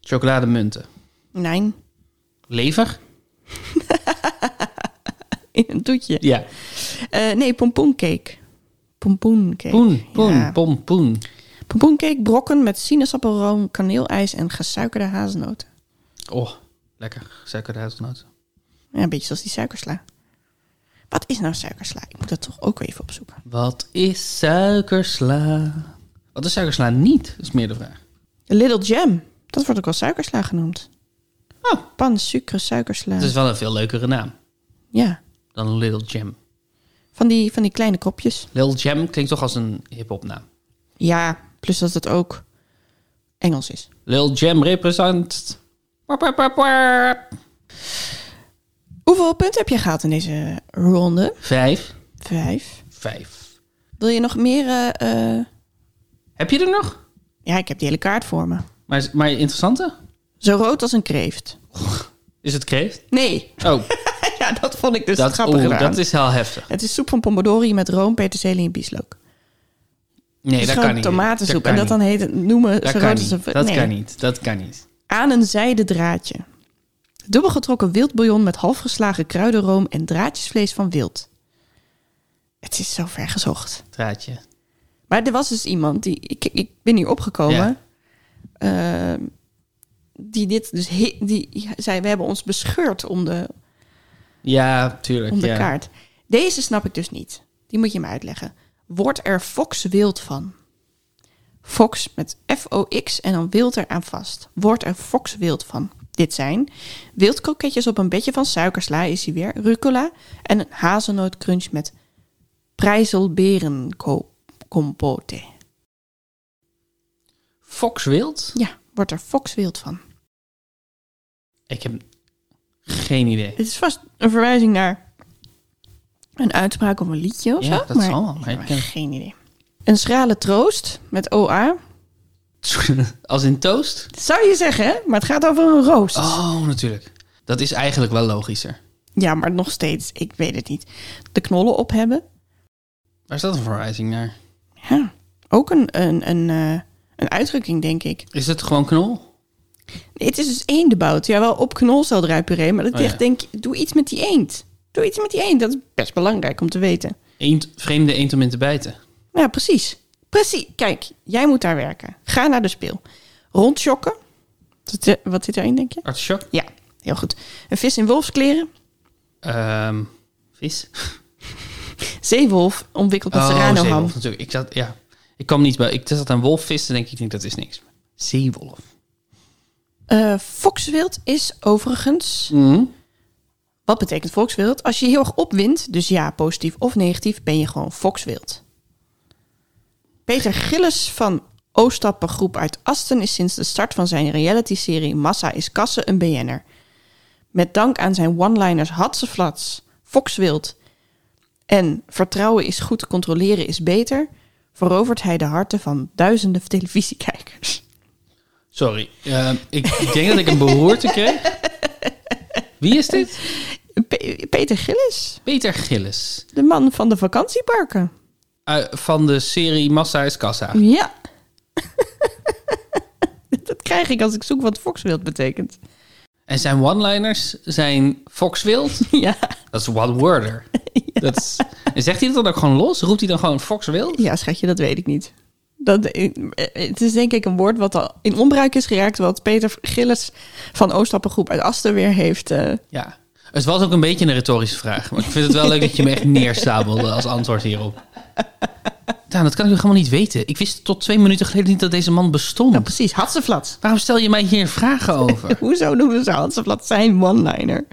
Speaker 1: Chocolademunten.
Speaker 2: Nein,
Speaker 1: Lever?
Speaker 2: in een toetje.
Speaker 1: Ja.
Speaker 2: Eh, nee, pompoencake. Pompoencake.
Speaker 1: Poen, poen,
Speaker 2: Ja.
Speaker 1: pom, poen.
Speaker 2: Pompoencake, brokken met sinaasappelroom, kaneelijs en gesuikerde hazelnoten.
Speaker 1: Oh, lekker. Suiker de hazelnoot.
Speaker 2: Ja, een beetje zoals die suikersla. Wat is nou suikersla? Ik moet dat toch ook even opzoeken.
Speaker 1: Wat is suikersla? Wat is suikersla niet? Is meer de vraag.
Speaker 2: Little Jam. Dat wordt ook wel suikersla genoemd.
Speaker 1: Oh. Dus-
Speaker 2: Pan, sucre, suikersla.
Speaker 1: Het is wel een veel leukere naam
Speaker 2: Ja,
Speaker 1: dan Little Jam.
Speaker 2: van die, van die kleine kopjes.
Speaker 1: Little Jam klinkt toch als een hip-hop naam.
Speaker 2: Ja, plus dat het ook Engels is.
Speaker 1: Lil Jam represent. Wap, wap, wap, wap.
Speaker 2: Hoeveel punten heb je gehaald in deze ronde?
Speaker 1: Vijf.
Speaker 2: Vijf.
Speaker 1: Vijf.
Speaker 2: Wil je nog meer... eh, eh,
Speaker 1: Heb je er nog?
Speaker 2: Ja, ik heb die hele kaart voor me.
Speaker 1: Maar, maar interessante?
Speaker 2: Zo rood als een kreeft.
Speaker 1: Is het kreeft?
Speaker 2: Nee.
Speaker 1: Oh,
Speaker 2: ja, dat vond ik dus
Speaker 1: dat,
Speaker 2: grappig.
Speaker 1: oeh, dat is heel heftig.
Speaker 2: Het is soep van pomodori met room, peterselie en bieslook.
Speaker 1: Nee, dat
Speaker 2: Het is
Speaker 1: kan
Speaker 2: gewoon
Speaker 1: niet.
Speaker 2: tomatensoep.
Speaker 1: kan
Speaker 2: en dat dan
Speaker 1: niet.
Speaker 2: heet het, noemen
Speaker 1: Dat
Speaker 2: ze
Speaker 1: kan
Speaker 2: rood als een...
Speaker 1: niet. Dat
Speaker 2: nee.
Speaker 1: kan niet. Dat kan niet.
Speaker 2: Aan een zijden draadje. Dubbelgetrokken wildbouillon met halfgeslagen kruidenroom en draadjesvlees van wild. Het is zo ver gezocht.
Speaker 1: Draadje.
Speaker 2: Maar er was dus iemand die... Ik, ik ben hier opgekomen.
Speaker 1: Ja.
Speaker 2: ehm, die dit dus... he- die zei, we hebben ons bescheurd om de,
Speaker 1: Ja, tuurlijk.
Speaker 2: om de
Speaker 1: ja.
Speaker 2: kaart. Deze snap ik dus niet. Die moet je me uitleggen. Wordt er fox wild van? Fox met F-O-X en dan wild eraan vast. Wordt er fox wild van? Dit zijn wildkroketjes op een bedje van suikersla is hier weer, rucola en een hazelnootcrunch met prijzelberencompote.
Speaker 1: Fox Wild?
Speaker 2: Ja, wordt er fox wild van?
Speaker 1: Ik heb geen idee.
Speaker 2: Het is vast een verwijzing naar een uitspraak of een liedje of
Speaker 1: Ja,
Speaker 2: zo.
Speaker 1: dat
Speaker 2: maar
Speaker 1: zal wel, maar
Speaker 2: ik
Speaker 1: ik
Speaker 2: heb
Speaker 1: ken-
Speaker 2: geen idee. Een schrale troost met OA.
Speaker 1: Als in toast?
Speaker 2: Dat zou je zeggen, hè? Maar het gaat over een roost.
Speaker 1: Oh, natuurlijk. Dat is eigenlijk wel logischer.
Speaker 2: Ja, maar nog steeds, ik weet het niet. De knollen op hebben.
Speaker 1: Waar is dat een verwijzing naar?
Speaker 2: Ja, ook een, een, een, eh, een uitdrukking, denk ik.
Speaker 1: Is het gewoon knol?
Speaker 2: Nee, het is dus eendenbout. Ja, wel op knolselderijpuree, maar dat
Speaker 1: Oh,
Speaker 2: echt
Speaker 1: ja.
Speaker 2: denk ik, doe iets met die eend. Doe iets met die eend, dat is best belangrijk om te weten.
Speaker 1: Eend, vreemde eend om in te bijten.
Speaker 2: Ja, precies. Precies. Kijk, jij moet daar werken. Ga naar de speel. Rondschokken. Wat zit er- Wat zit erin, denk je?
Speaker 1: Artichok?
Speaker 2: Ja, heel goed. Een vis in wolfskleren.
Speaker 1: Ehm, vis?
Speaker 2: Zeewolf omwikkeld met serranoham.
Speaker 1: Oh, zeewolf natuurlijk. Ik zat, ja. Ik kwam niet bij. Ik zat aan wolfvis en denk ik, ik denk dat is niks. Zeewolf.
Speaker 2: Eh Foxwild is overigens... Wat betekent Foxwild? Als je je heel erg opwindt, dus ja, positief of negatief, ben je gewoon Foxwild. Peter Gillis van Oostappengroep uit Asten is sinds de start van zijn realityserie Massa is Kassen een BN'er. Met dank aan zijn one-liners Hatseflats, Foxwild en Vertrouwen is goed, controleren is beter, verovert hij de harten van duizenden televisiekijkers.
Speaker 1: Sorry. Ehm, ik denk dat ik een beroerte kreeg. Wie is dit?
Speaker 2: Pe- Peter Gillis,
Speaker 1: Peter Gillis.
Speaker 2: de man van de vakantieparken.
Speaker 1: Eh, van de serie Massa is Kassa.
Speaker 2: Ja. dat krijg ik als ik zoek wat Foxwild betekent.
Speaker 1: En zijn one-liners zijn Foxwild.
Speaker 2: Ja.
Speaker 1: Dat is one-worder. Dat is- En zegt hij dat dan ook gewoon los? Roept hij dan gewoon Foxwild?
Speaker 2: Ja, schatje, dat weet ik niet. Dat, eh, het is denk ik een woord wat al in onbruik is geraakt... wat Peter Gillis van Oostappengroep uit Asten weer heeft. eh.
Speaker 1: Ja. Het was ook een beetje een retorische vraag. Maar ik vind het wel leuk dat je me echt neersabelde als antwoord hierop. Daan, dat kan ik nog helemaal niet weten. Ik wist tot twee minuten geleden niet dat deze man bestond.
Speaker 2: Nou, precies, Hatseflat.
Speaker 1: Waarom stel je mij hier vragen over?
Speaker 2: Hoezo noemen ze Hatseflat zijn one-liner?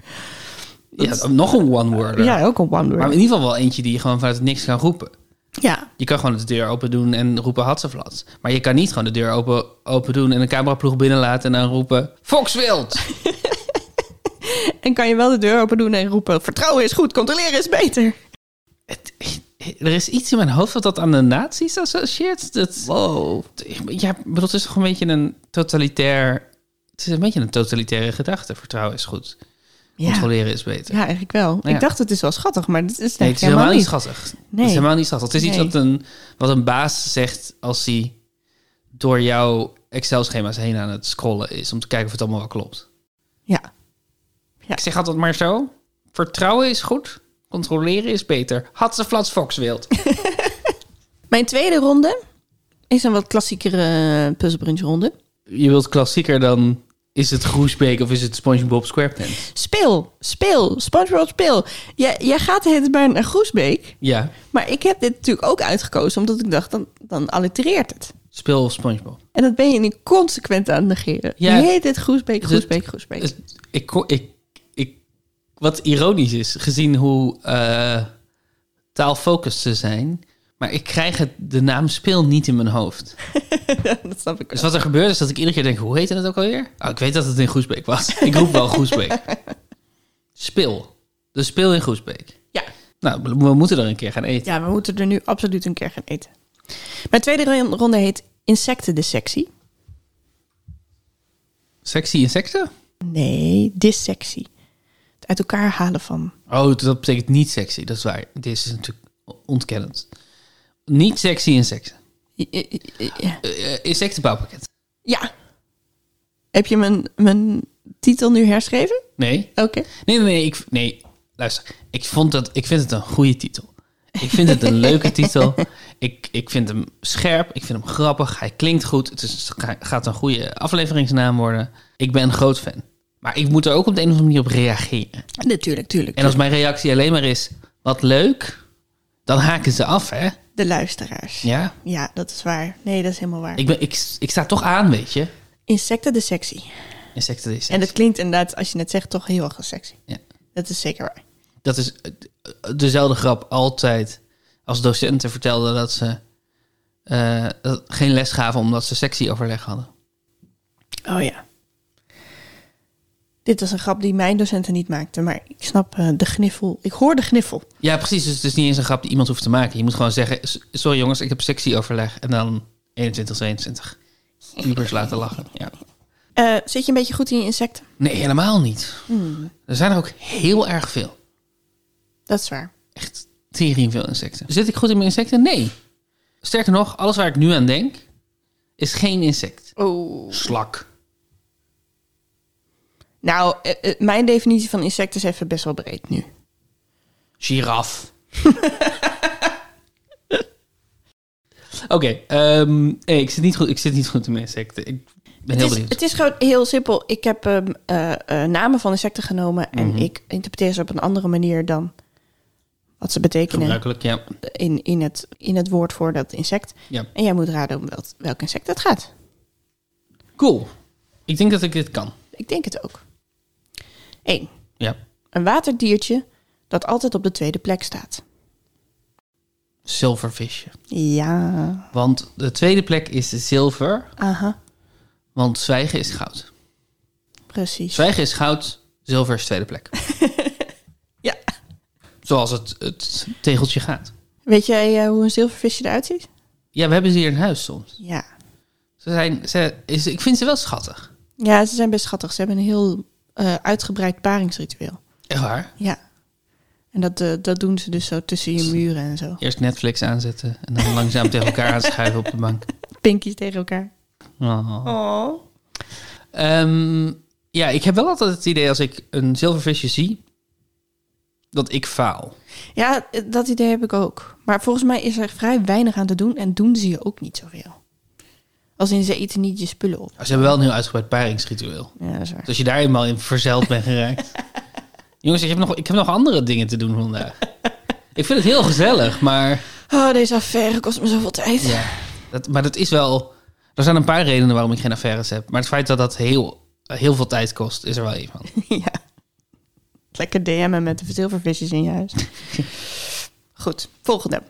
Speaker 1: Ja, nog een one-worder.
Speaker 2: Ja, ook een one-word.
Speaker 1: Maar in ieder geval wel eentje die je gewoon vanuit het niks kan roepen.
Speaker 2: Ja,
Speaker 1: Je kan gewoon de deur open doen en roepen Hatseflats. Maar je kan niet gewoon de deur open, open doen en een cameraploeg binnenlaten en dan roepen... Foxwild!
Speaker 2: en kan je wel de deur open doen en roepen... vertrouwen is goed, controleren is beter.
Speaker 1: Het- er is iets in mijn hoofd wat dat aan de nazi's associeert. Dat,
Speaker 2: Wow.
Speaker 1: ja, ik bedoel, het is toch een beetje een totalitair... Het is een beetje een totalitaire gedachte, vertrouwen is goed.
Speaker 2: Ja.
Speaker 1: Controleren is beter.
Speaker 2: ja, eigenlijk wel.
Speaker 1: Ja.
Speaker 2: Ik dacht het is wel schattig, maar het is,
Speaker 1: Nee,
Speaker 2: eigenlijk
Speaker 1: het is helemaal niet
Speaker 2: helemaal
Speaker 1: schattig.
Speaker 2: Nee.
Speaker 1: Het is helemaal niet schattig. Het is
Speaker 2: Nee.
Speaker 1: iets wat een, wat een baas zegt als hij door jouw Excel-schema's heen aan het scrollen is. Om te kijken of het allemaal wel klopt.
Speaker 2: niet. Ja,
Speaker 1: Ik zeg altijd maar zo. Vertrouwen is goed. Controleren is beter. Had ze flats Fox wild.
Speaker 2: Mijn tweede ronde is een wat klassiekere eh, puzzelbrunchronde.
Speaker 1: Je wilt klassieker dan... Is het Groesbeek of is het SpongeBob SquarePants?
Speaker 2: Speel, speel, SpongeBob speel. Jij, jij gaat het bij een Groesbeek,
Speaker 1: Ja,
Speaker 2: maar ik heb dit natuurlijk ook uitgekozen omdat ik dacht, dan, dan allitereert het.
Speaker 1: speel of SpongeBob.
Speaker 2: En dat ben je nu consequent aan het negeren.
Speaker 1: Ja,
Speaker 2: Je heet dit Groesbeek, Groesbeek, Groesbeek.
Speaker 1: Dus Ik, ko- ik, ik, wat ironisch is, gezien hoe eh taalfocused ze zijn. Maar ik krijg het, de naam speel niet in mijn hoofd.
Speaker 2: dat snap ik
Speaker 1: Dus
Speaker 2: wel.
Speaker 1: wat er gebeurt is dat ik iedere keer denk, hoe heette het ook alweer? Oh, ik weet dat het in Groesbeek was. Ik roep wel Groesbeek. Speel. De speel in Groesbeek.
Speaker 2: Ja.
Speaker 1: Nou, we- we moeten er een keer gaan eten.
Speaker 2: ja, we moeten er nu absoluut een keer gaan eten. Mijn tweede ron- ronde heet insectendissectie.
Speaker 1: Sexy insecten?
Speaker 2: Nee, dissectie. Het uit elkaar halen van...
Speaker 1: Oh, dat betekent niet sexy. Dat is waar. Dit is natuurlijk ontkennend. Niet sexy insecten. Eh, eh, insectenbouwpakket.
Speaker 2: Ja. Heb je mijn, mijn titel nu herschreven?
Speaker 1: Nee.
Speaker 2: Oké.
Speaker 1: Nee, nee, nee. Ik, nee, luister. Ik, vond dat, ik vind het een goede titel. Ik vind het een leuke titel. Ik, ik vind hem scherp. Ik vind hem grappig. Hij klinkt goed. Het is, ga- gaat een goede afleveringsnaam worden. Ik ben een groot fan. Maar ik moet er ook op de een of andere manier op reageren.
Speaker 2: Natuurlijk, tuurlijk.
Speaker 1: En als mijn reactie alleen maar is... Wat leuk. Dan haken ze af, hè?
Speaker 2: De luisteraars. Ja.
Speaker 1: Ja.
Speaker 2: dat is waar. Nee, dat is helemaal waar.
Speaker 1: Ik, ben, ik, ik sta toch aan, weet je.
Speaker 2: Insecten de sexy.
Speaker 1: Insecten is
Speaker 2: En dat klinkt inderdaad, als je het zegt, toch heel erg sexy.
Speaker 1: Ja.
Speaker 2: Dat is zeker waar.
Speaker 1: dat is eh, dezelfde grap altijd als docenten vertelden dat ze eh, dat geen les gaven omdat ze sectieoverleg hadden.
Speaker 2: Oh ja. Dit was een grap die mijn docenten niet maakten, maar ik snap eh, de gniffel. Ik hoor de gniffel.
Speaker 1: Ja, precies. Dus het is niet eens een grap die iemand hoeft te maken. Je moet gewoon zeggen, "S- sorry jongens, ik heb sectieoverleg. En dan 21, 22. Ubers laten lachen. Ja.
Speaker 2: Eh, zit je een beetje goed in je insecten?
Speaker 1: Nee, helemaal niet. Er zijn er ook heel erg veel.
Speaker 2: Dat is waar.
Speaker 1: Echt tering veel insecten. Zit ik goed in mijn insecten? Nee. Sterker nog, alles waar ik nu aan denk, is geen insect.
Speaker 2: Oh.
Speaker 1: Slak.
Speaker 2: Nou, eh, eh, mijn definitie van insecten is even best wel breed nu.
Speaker 1: Giraf. Oké, ehm, nee, ik zit niet goed. Ik zit niet goed in mijn insecten. Ik ben heel
Speaker 2: het, is,
Speaker 1: benieuwd.
Speaker 2: het is gewoon heel simpel. Ik heb ehm, eh, eh, namen van insecten genomen
Speaker 1: Mhm.
Speaker 2: en ik interpreteer ze op een andere manier dan wat ze betekenen
Speaker 1: Gebruikelijk, ja.
Speaker 2: in, in, het, in het woord voor dat insect.
Speaker 1: ja.
Speaker 2: En jij moet raden om wel, welk insect het gaat.
Speaker 1: Cool. Ik denk dat ik dit kan.
Speaker 2: Ik denk het ook. 1.
Speaker 1: Ja.
Speaker 2: Een waterdiertje dat altijd op de tweede plek staat.
Speaker 1: Zilvervisje.
Speaker 2: Ja.
Speaker 1: Want de tweede plek is zilver,
Speaker 2: Aha,
Speaker 1: want zwijgen is goud.
Speaker 2: precies.
Speaker 1: Zwijgen is goud, zilver is tweede plek.
Speaker 2: Ja.
Speaker 1: Zoals het, het tegeltje gaat.
Speaker 2: Weet jij eh, hoe een zilvervisje eruit ziet?
Speaker 1: Ja, we hebben ze hier in huis soms.
Speaker 2: Ja.
Speaker 1: Ze zijn, ze, is, ik vind ze wel schattig.
Speaker 2: Ja, ze zijn best schattig. Ze hebben een heel eh, uitgebreid paringsritueel.
Speaker 1: Echt waar?
Speaker 2: Ja. En dat, eh, dat doen ze dus zo tussen je muren en zo.
Speaker 1: Eerst Netflix aanzetten en dan langzaam tegen elkaar aanschuiven op de bank.
Speaker 2: Pinkies tegen elkaar.
Speaker 1: Oh.
Speaker 2: Oh.
Speaker 1: Ehm, ja, ik heb wel altijd het idee als ik een zilvervisje zie, dat ik faal.
Speaker 2: Ja, eh, dat idee heb ik ook. Maar volgens mij is er vrij weinig aan te doen en doen ze je ook niet zoveel. Als in ze eten niet je spullen op.
Speaker 1: Ze hebben wel een heel uitgebreid paringsritueel.
Speaker 2: Ja, dat is waar.
Speaker 1: Dus als je daar eenmaal in verzeild bent geraakt. Jongens, ik heb, nog, ik heb nog andere dingen te doen vandaag. Ik vind het heel gezellig, maar,
Speaker 2: Oh, deze affaire kost me zoveel tijd.
Speaker 1: ja, dat, maar dat is wel... Er zijn een paar redenen waarom ik geen affaires heb. Maar het feit dat dat heel, heel veel tijd kost, is er wel een van.
Speaker 2: Ja. Lekker DM'en met de zilvervisjes in je huis. Goed, volgende.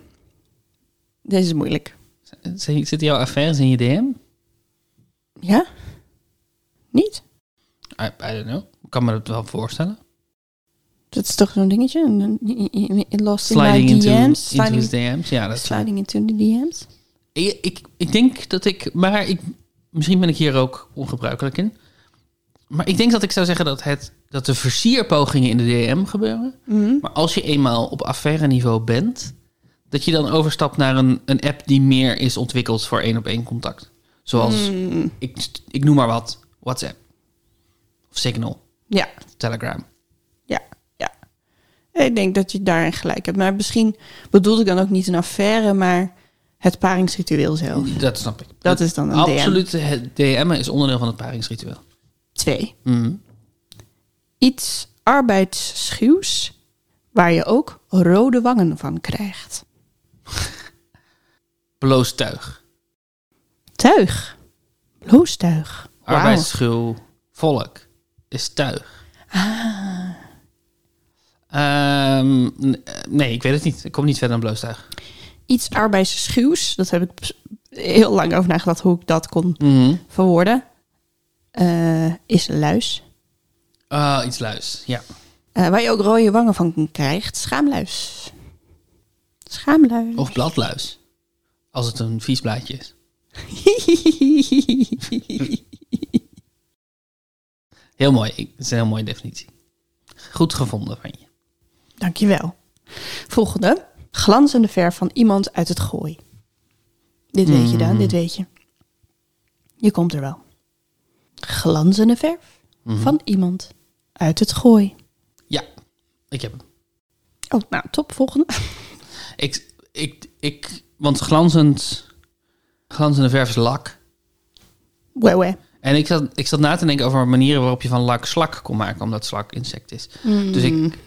Speaker 2: Deze is moeilijk.
Speaker 1: Z- Zitten jouw affaires in je DM?
Speaker 2: Ja? Niet?
Speaker 1: I, I don't know. Ik kan me dat wel voorstellen.
Speaker 2: Dat is toch zo'n dingetje? Een- een- een- een- Lost
Speaker 1: Sliding
Speaker 2: in
Speaker 1: into,
Speaker 2: my DM's.
Speaker 1: into his
Speaker 2: Sliding,
Speaker 1: DM's. Ja, dat is
Speaker 2: sliding into the DM's.
Speaker 1: Ik, ik, ik denk dat ik, maar ik, misschien ben ik hier ook ongebruikelijk in. Maar ik denk dat ik zou zeggen dat het dat de versierpogingen in de DM gebeuren.
Speaker 2: Mhm.
Speaker 1: Maar als je eenmaal op affaire niveau bent, dat je dan overstapt naar een, een app die meer is ontwikkeld voor één op één contact. Zoals, ik, ik noem maar wat, WhatsApp. Of Signal,
Speaker 2: Ja,
Speaker 1: Telegram.
Speaker 2: ja, ja. Ik denk dat je daarin gelijk hebt. Maar misschien bedoelde ik dan ook niet een affaire, maar het paringsritueel zelf.
Speaker 1: Dat snap ik.
Speaker 2: Dat is dan een DM.
Speaker 1: Absoluut, het DM'en is onderdeel van het paringsritueel.
Speaker 2: Twee.
Speaker 1: Mhm.
Speaker 2: Iets arbeidsschuws waar je ook rode wangen van krijgt.
Speaker 1: Bloos tuig,
Speaker 2: Tuig. Bloostuig. Wauw.
Speaker 1: arbeidsschuw, volk is tuig.
Speaker 2: Ah.
Speaker 1: Ehm, n- eh, nee, ik weet het niet. Ik kom niet verder dan bloos tuig.
Speaker 2: Iets arbeidsschuws. Dat heb ik ps- heel lang over nagedacht hoe ik dat kon
Speaker 1: Mhm.
Speaker 2: verwoorden. Eh, is luis.
Speaker 1: Ah, iets luis, ja.
Speaker 2: Eh, waar je ook rode wangen van krijgt. Schaamluis. Schaamluis.
Speaker 1: Of bladluis. Als het een vies blaadje is. Heel mooi. Ik- Dat is een heel mooie definitie. Goed gevonden van je.
Speaker 2: Dankjewel. Volgende. Glanzende verf van iemand uit het gooi. Dit weet je dan, dit weet je. Je komt er wel. Glanzende verf van iemand uit het gooi.
Speaker 1: Ja, ik heb hem.
Speaker 2: Oh, nou, top. Volgende.
Speaker 1: Ik, ik, ik, want glanzend, glanzende verf is lak.
Speaker 2: Wee, wee.
Speaker 1: En ik zat, ik zat na te denken over manieren waarop je van lak slak kon maken, omdat slak insect is. Dus
Speaker 2: Hmm.
Speaker 1: ik,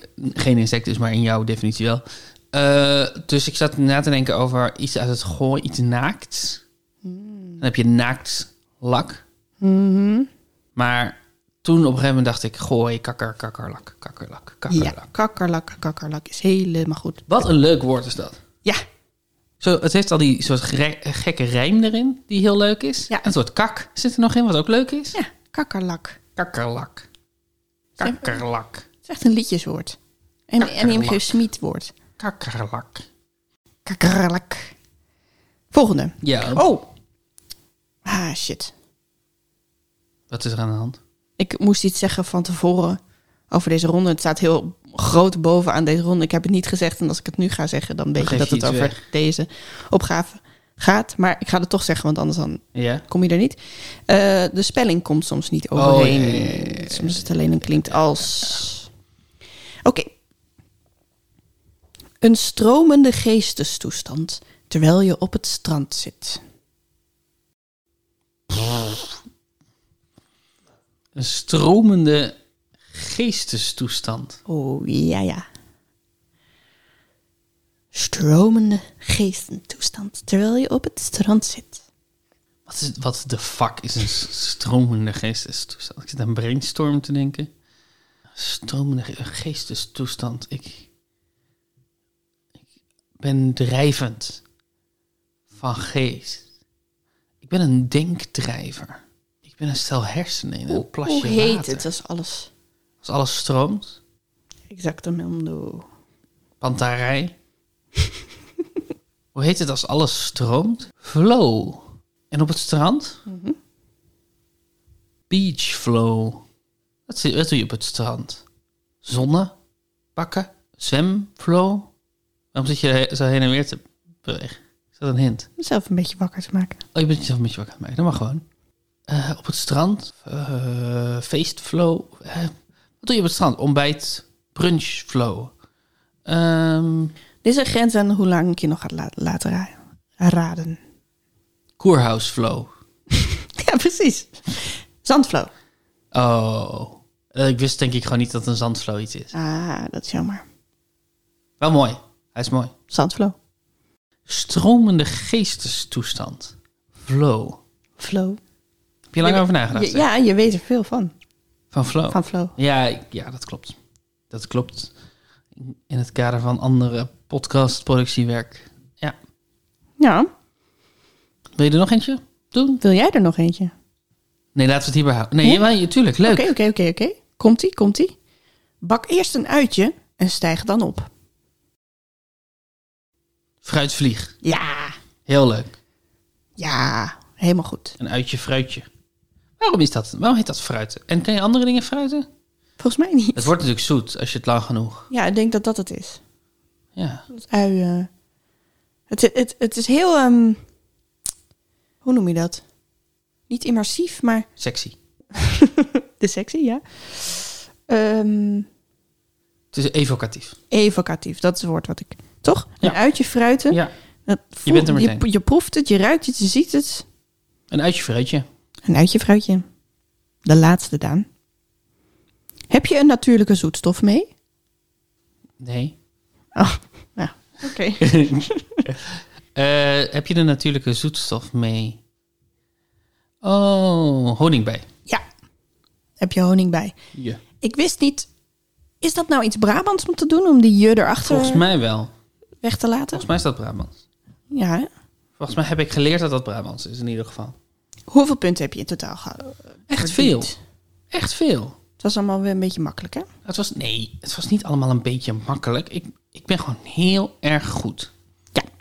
Speaker 1: geen insect is, maar in jouw definitie wel. Eh, dus ik zat na te denken over iets uit het gooi, iets naakt.
Speaker 2: Hmm.
Speaker 1: Dan heb je naakt lak. Maar toen op een gegeven moment dacht ik, gooi, kakker, kakkerlak, kakkerlak, kakkerlak.
Speaker 2: Ja, kakkerlak, kakkerlak is helemaal goed.
Speaker 1: Wat een leuk woord is dat.
Speaker 2: Ja,
Speaker 1: Zo, het heeft al die soort gre- gekke rijm erin, die heel leuk is.
Speaker 2: Ja.
Speaker 1: Een soort kak zit er nog in, wat ook leuk is.
Speaker 2: ja, kakkerlak.
Speaker 1: Kakkerlak.
Speaker 2: Zeg-
Speaker 1: Kakkerlak.
Speaker 2: Het is echt een liedjeswoord. En een
Speaker 1: Kakkerlak.
Speaker 2: NMG Smit woord.
Speaker 1: Kakkerlak.
Speaker 2: Kakkerlak. Volgende.
Speaker 1: Ja,
Speaker 2: Oh. Ah, shit.
Speaker 1: wat is er aan de hand?
Speaker 2: Ik moest iets zeggen van tevoren over deze ronde. Het staat heel groot bovenaan deze ronde. Ik heb het niet gezegd. En als ik het nu ga zeggen, dan weet
Speaker 1: geef
Speaker 2: je dat
Speaker 1: je
Speaker 2: het
Speaker 1: iets
Speaker 2: over
Speaker 1: weg.
Speaker 2: deze opgave gaat. Maar ik ga het toch zeggen, want anders dan
Speaker 1: Ja.
Speaker 2: kom je er niet. Eh, de spelling komt soms niet
Speaker 1: Oh,
Speaker 2: overheen. Soms is het alleen een klinkt als. Oké. Een stromende geestestoestand terwijl je op het strand zit.
Speaker 1: Een stromende geestestoestand.
Speaker 2: Oh ja, ja. Stromende geestentoestand terwijl je op het strand zit.
Speaker 1: Wat, is, wat de fuck is een s- stromende geestestoestand? Ik zit aan brainstorm te denken. Stromende ge- geestestoestand. Ik, ik ben drijvend van geest. Ik ben een denkdrijver. Ik ben een stel hersenen in een plasje
Speaker 2: Hoe heet
Speaker 1: water.
Speaker 2: het? Dat is alles.
Speaker 1: Als alles stroomt.
Speaker 2: Exactamendo.
Speaker 1: Pantarij. Hoe heet het als alles stroomt? Flow. En op het strand? Beach flow. Dat, zie- dat doe je op het strand. Zonne. Bakken. Zwemflow. Waarom zit je zo heen en weer te bewegen? Is dat een hint?
Speaker 2: Mezelf een beetje wakker te maken.
Speaker 1: Oh, je bent jezelf een beetje wakker aan het maken. Dat mag gewoon. Eh, op het strand. eh, feestflow. eh, wat doe je op het strand? Ontbijt. Brunchflow. Ehm
Speaker 2: Dit is een grens aan hoe lang ik je nog gaat la- laten ra- raden.
Speaker 1: Koerhuisflow.
Speaker 2: Ja, precies. Zandflow.
Speaker 1: Oh. Eh, Ik wist denk ik gewoon niet dat een zandflow iets is.
Speaker 2: Ah, dat is jammer.
Speaker 1: Wel mooi. Hij is mooi.
Speaker 2: Zandflow.
Speaker 1: Stromende geestestoestand. Flow.
Speaker 2: Flow.
Speaker 1: Heb je lang over nagedacht?
Speaker 2: Je-
Speaker 1: hè?
Speaker 2: ja, je weet er veel van.
Speaker 1: Van flow.
Speaker 2: Van flow.
Speaker 1: Ja, ik- ja, dat klopt. Dat klopt. In het kader van andere podcastproductiewerk. Ja.
Speaker 2: Ja,
Speaker 1: Wil je er nog eentje doen?
Speaker 2: wil jij er nog eentje?
Speaker 1: Nee, laten we het hierbij houden. Nee,
Speaker 2: Ja?
Speaker 1: jawel, je- tuurlijk. Leuk.
Speaker 2: Oké, oké, oké, oké. Komt-ie, komt-ie. Bak eerst een uitje en stijg dan op.
Speaker 1: Fruitvlieg.
Speaker 2: Ja,
Speaker 1: Heel leuk.
Speaker 2: ja, helemaal goed.
Speaker 1: Een uitje fruitje. Waarom is dat? Waarom heet dat fruiten? En kan je andere dingen fruiten?
Speaker 2: Volgens mij niet.
Speaker 1: Het wordt natuurlijk zoet als je het lang genoeg.
Speaker 2: Ja, ik denk dat dat het is.
Speaker 1: Ja.
Speaker 2: Dat ui. eh, het, het, het is heel. ehm, hoe noem je dat? Niet immersief, maar.
Speaker 1: Sexy.
Speaker 2: De sexy, ja. Ehm,
Speaker 1: Het is evocatief.
Speaker 2: evocatief, dat is het woord wat ik. Toch? Een
Speaker 1: Ja.
Speaker 2: uitje fruiten.
Speaker 1: Ja.
Speaker 2: Dat voelt-
Speaker 1: bent er meteen.
Speaker 2: Je, je proeft het, je ruikt het, je ziet het.
Speaker 1: Een uitje fruitje.
Speaker 2: Een uitje fruitje. De laatste, Daan. Heb je een natuurlijke zoetstof mee?
Speaker 1: Nee. Ah.
Speaker 2: Oh, nou, oké.
Speaker 1: Eh, heb je de natuurlijke zoetstof mee? Oh, honingbij.
Speaker 2: Ja, heb je honing bij.
Speaker 1: Ja.
Speaker 2: Ik wist niet. Is dat nou iets Brabants om te doen? Om die je erachter
Speaker 1: Volgens mij wel.
Speaker 2: weg te laten?
Speaker 1: Volgens mij is dat Brabants.
Speaker 2: Ja. hè?
Speaker 1: Volgens mij heb ik geleerd dat dat Brabants is in ieder geval.
Speaker 2: Hoeveel punten heb je in totaal gehad?
Speaker 1: Echt
Speaker 2: Verdiend.
Speaker 1: veel. Echt veel.
Speaker 2: Het was allemaal weer een beetje makkelijk, hè?
Speaker 1: Het was, nee, het was niet allemaal een beetje makkelijk. Ik, ik ben gewoon heel erg goed.
Speaker 2: Ja.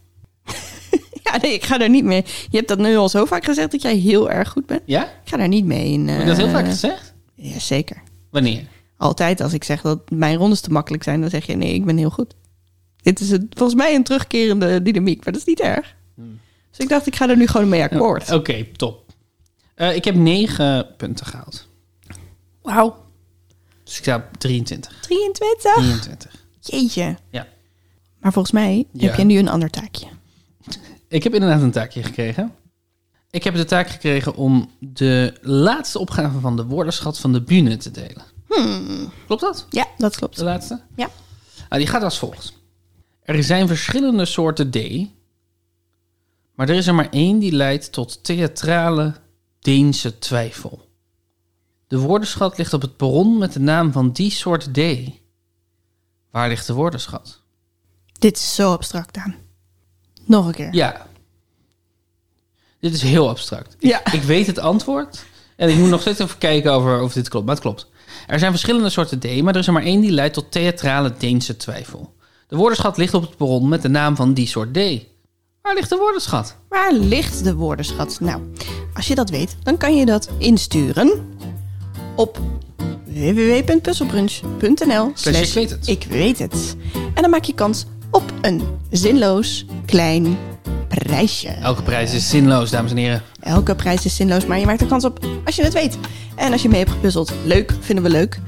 Speaker 2: ja, nee, ik ga daar niet mee. Je hebt dat nu al zo vaak gezegd dat jij heel erg goed bent.
Speaker 1: Ja? Heb
Speaker 2: Ik ga daar niet mee in.
Speaker 1: ik dat heel
Speaker 2: eh,
Speaker 1: vaak gezegd?
Speaker 2: Ja, zeker.
Speaker 1: Wanneer?
Speaker 2: Altijd als ik zeg dat mijn rondes te makkelijk zijn, dan zeg je nee, ik ben heel goed. Dit is een, volgens mij een terugkerende dynamiek, maar dat is niet erg.
Speaker 1: Hmm.
Speaker 2: Dus ik dacht, ik ga er nu gewoon mee akkoord.
Speaker 1: Oké, top. Eh, ik heb 9 punten gehaald.
Speaker 2: Wauw.
Speaker 1: Dus ik sta op 23.
Speaker 2: 23?
Speaker 1: 23.
Speaker 2: Jeetje.
Speaker 1: Ja.
Speaker 2: Maar volgens mij
Speaker 1: Ja.
Speaker 2: heb je nu een ander taakje.
Speaker 1: Ik heb inderdaad een taakje gekregen. Ik heb de taak gekregen om de laatste opgave van de woordenschat van de bühne te delen. Klopt dat?
Speaker 2: Ja, dat klopt.
Speaker 1: De laatste?
Speaker 2: Ja.
Speaker 1: Ah, die gaat als volgt. Er zijn verschillende soorten D, maar er is er maar één die leidt tot theatrale Deense twijfel. De woordenschat ligt op het bron met de naam van die soort D. Waar ligt de woordenschat?
Speaker 2: Dit is zo abstract aan. Nog een keer.
Speaker 1: Ja. Dit is heel abstract. Ik,
Speaker 2: Ja.
Speaker 1: ik weet het antwoord. En ik moet nog steeds even kijken over of dit klopt. Maar het klopt. Er zijn verschillende soorten D, maar er is er maar één die leidt tot theatrale Deense twijfel. De woordenschat ligt op het bron met de naam van die soort D. Waar ligt de woordenschat?
Speaker 2: Waar ligt de woordenschat? Nou, als je dat weet, dan kan je dat insturen op www.puzzelbrunch.nl
Speaker 1: Slash ik Dus weet het.
Speaker 2: ik weet het. En dan maak je kans op een zinloos klein prijsje.
Speaker 1: Elke prijs is zinloos, dames en heren.
Speaker 2: Elke prijs is zinloos, maar je maakt er kans op als je het weet. En als je mee hebt gepuzzeld, leuk, vinden we leuk.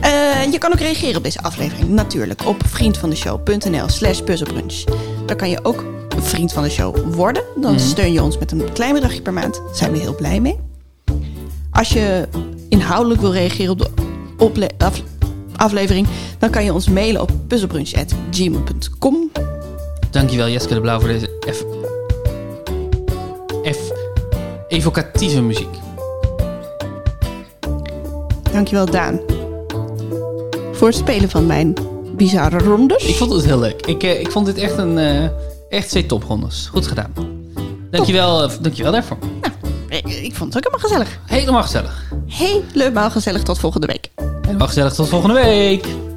Speaker 2: Eh, je kan ook reageren op deze aflevering, natuurlijk, op vriendvandeshow.nl slash puzzelbrunch. Dan kan je ook vriend van de show worden. Dan steun je ons met een klein bedragje per maand. Daar zijn we heel blij mee. Als je inhoudelijk wil reageren op de ople- af- aflevering, dan kan je ons mailen op puzzelbrunch.gmail.com.
Speaker 1: Dankjewel Jeske de Blauw voor deze F... F... evocatieve muziek.
Speaker 2: Dankjewel, Daan. Voor het spelen van mijn bizarre rondes.
Speaker 1: Ik vond het heel leuk. Ik, eh, ik vond dit echt een... eh, echt twee toprondes. Goed gedaan. Dankjewel, eh, dankjewel daarvoor.
Speaker 2: nou, ik, ik vond het ook helemaal gezellig.
Speaker 1: Helemaal gezellig.
Speaker 2: Helemaal gezellig. Tot volgende week.
Speaker 1: Helemaal gezellig. Tot volgende week.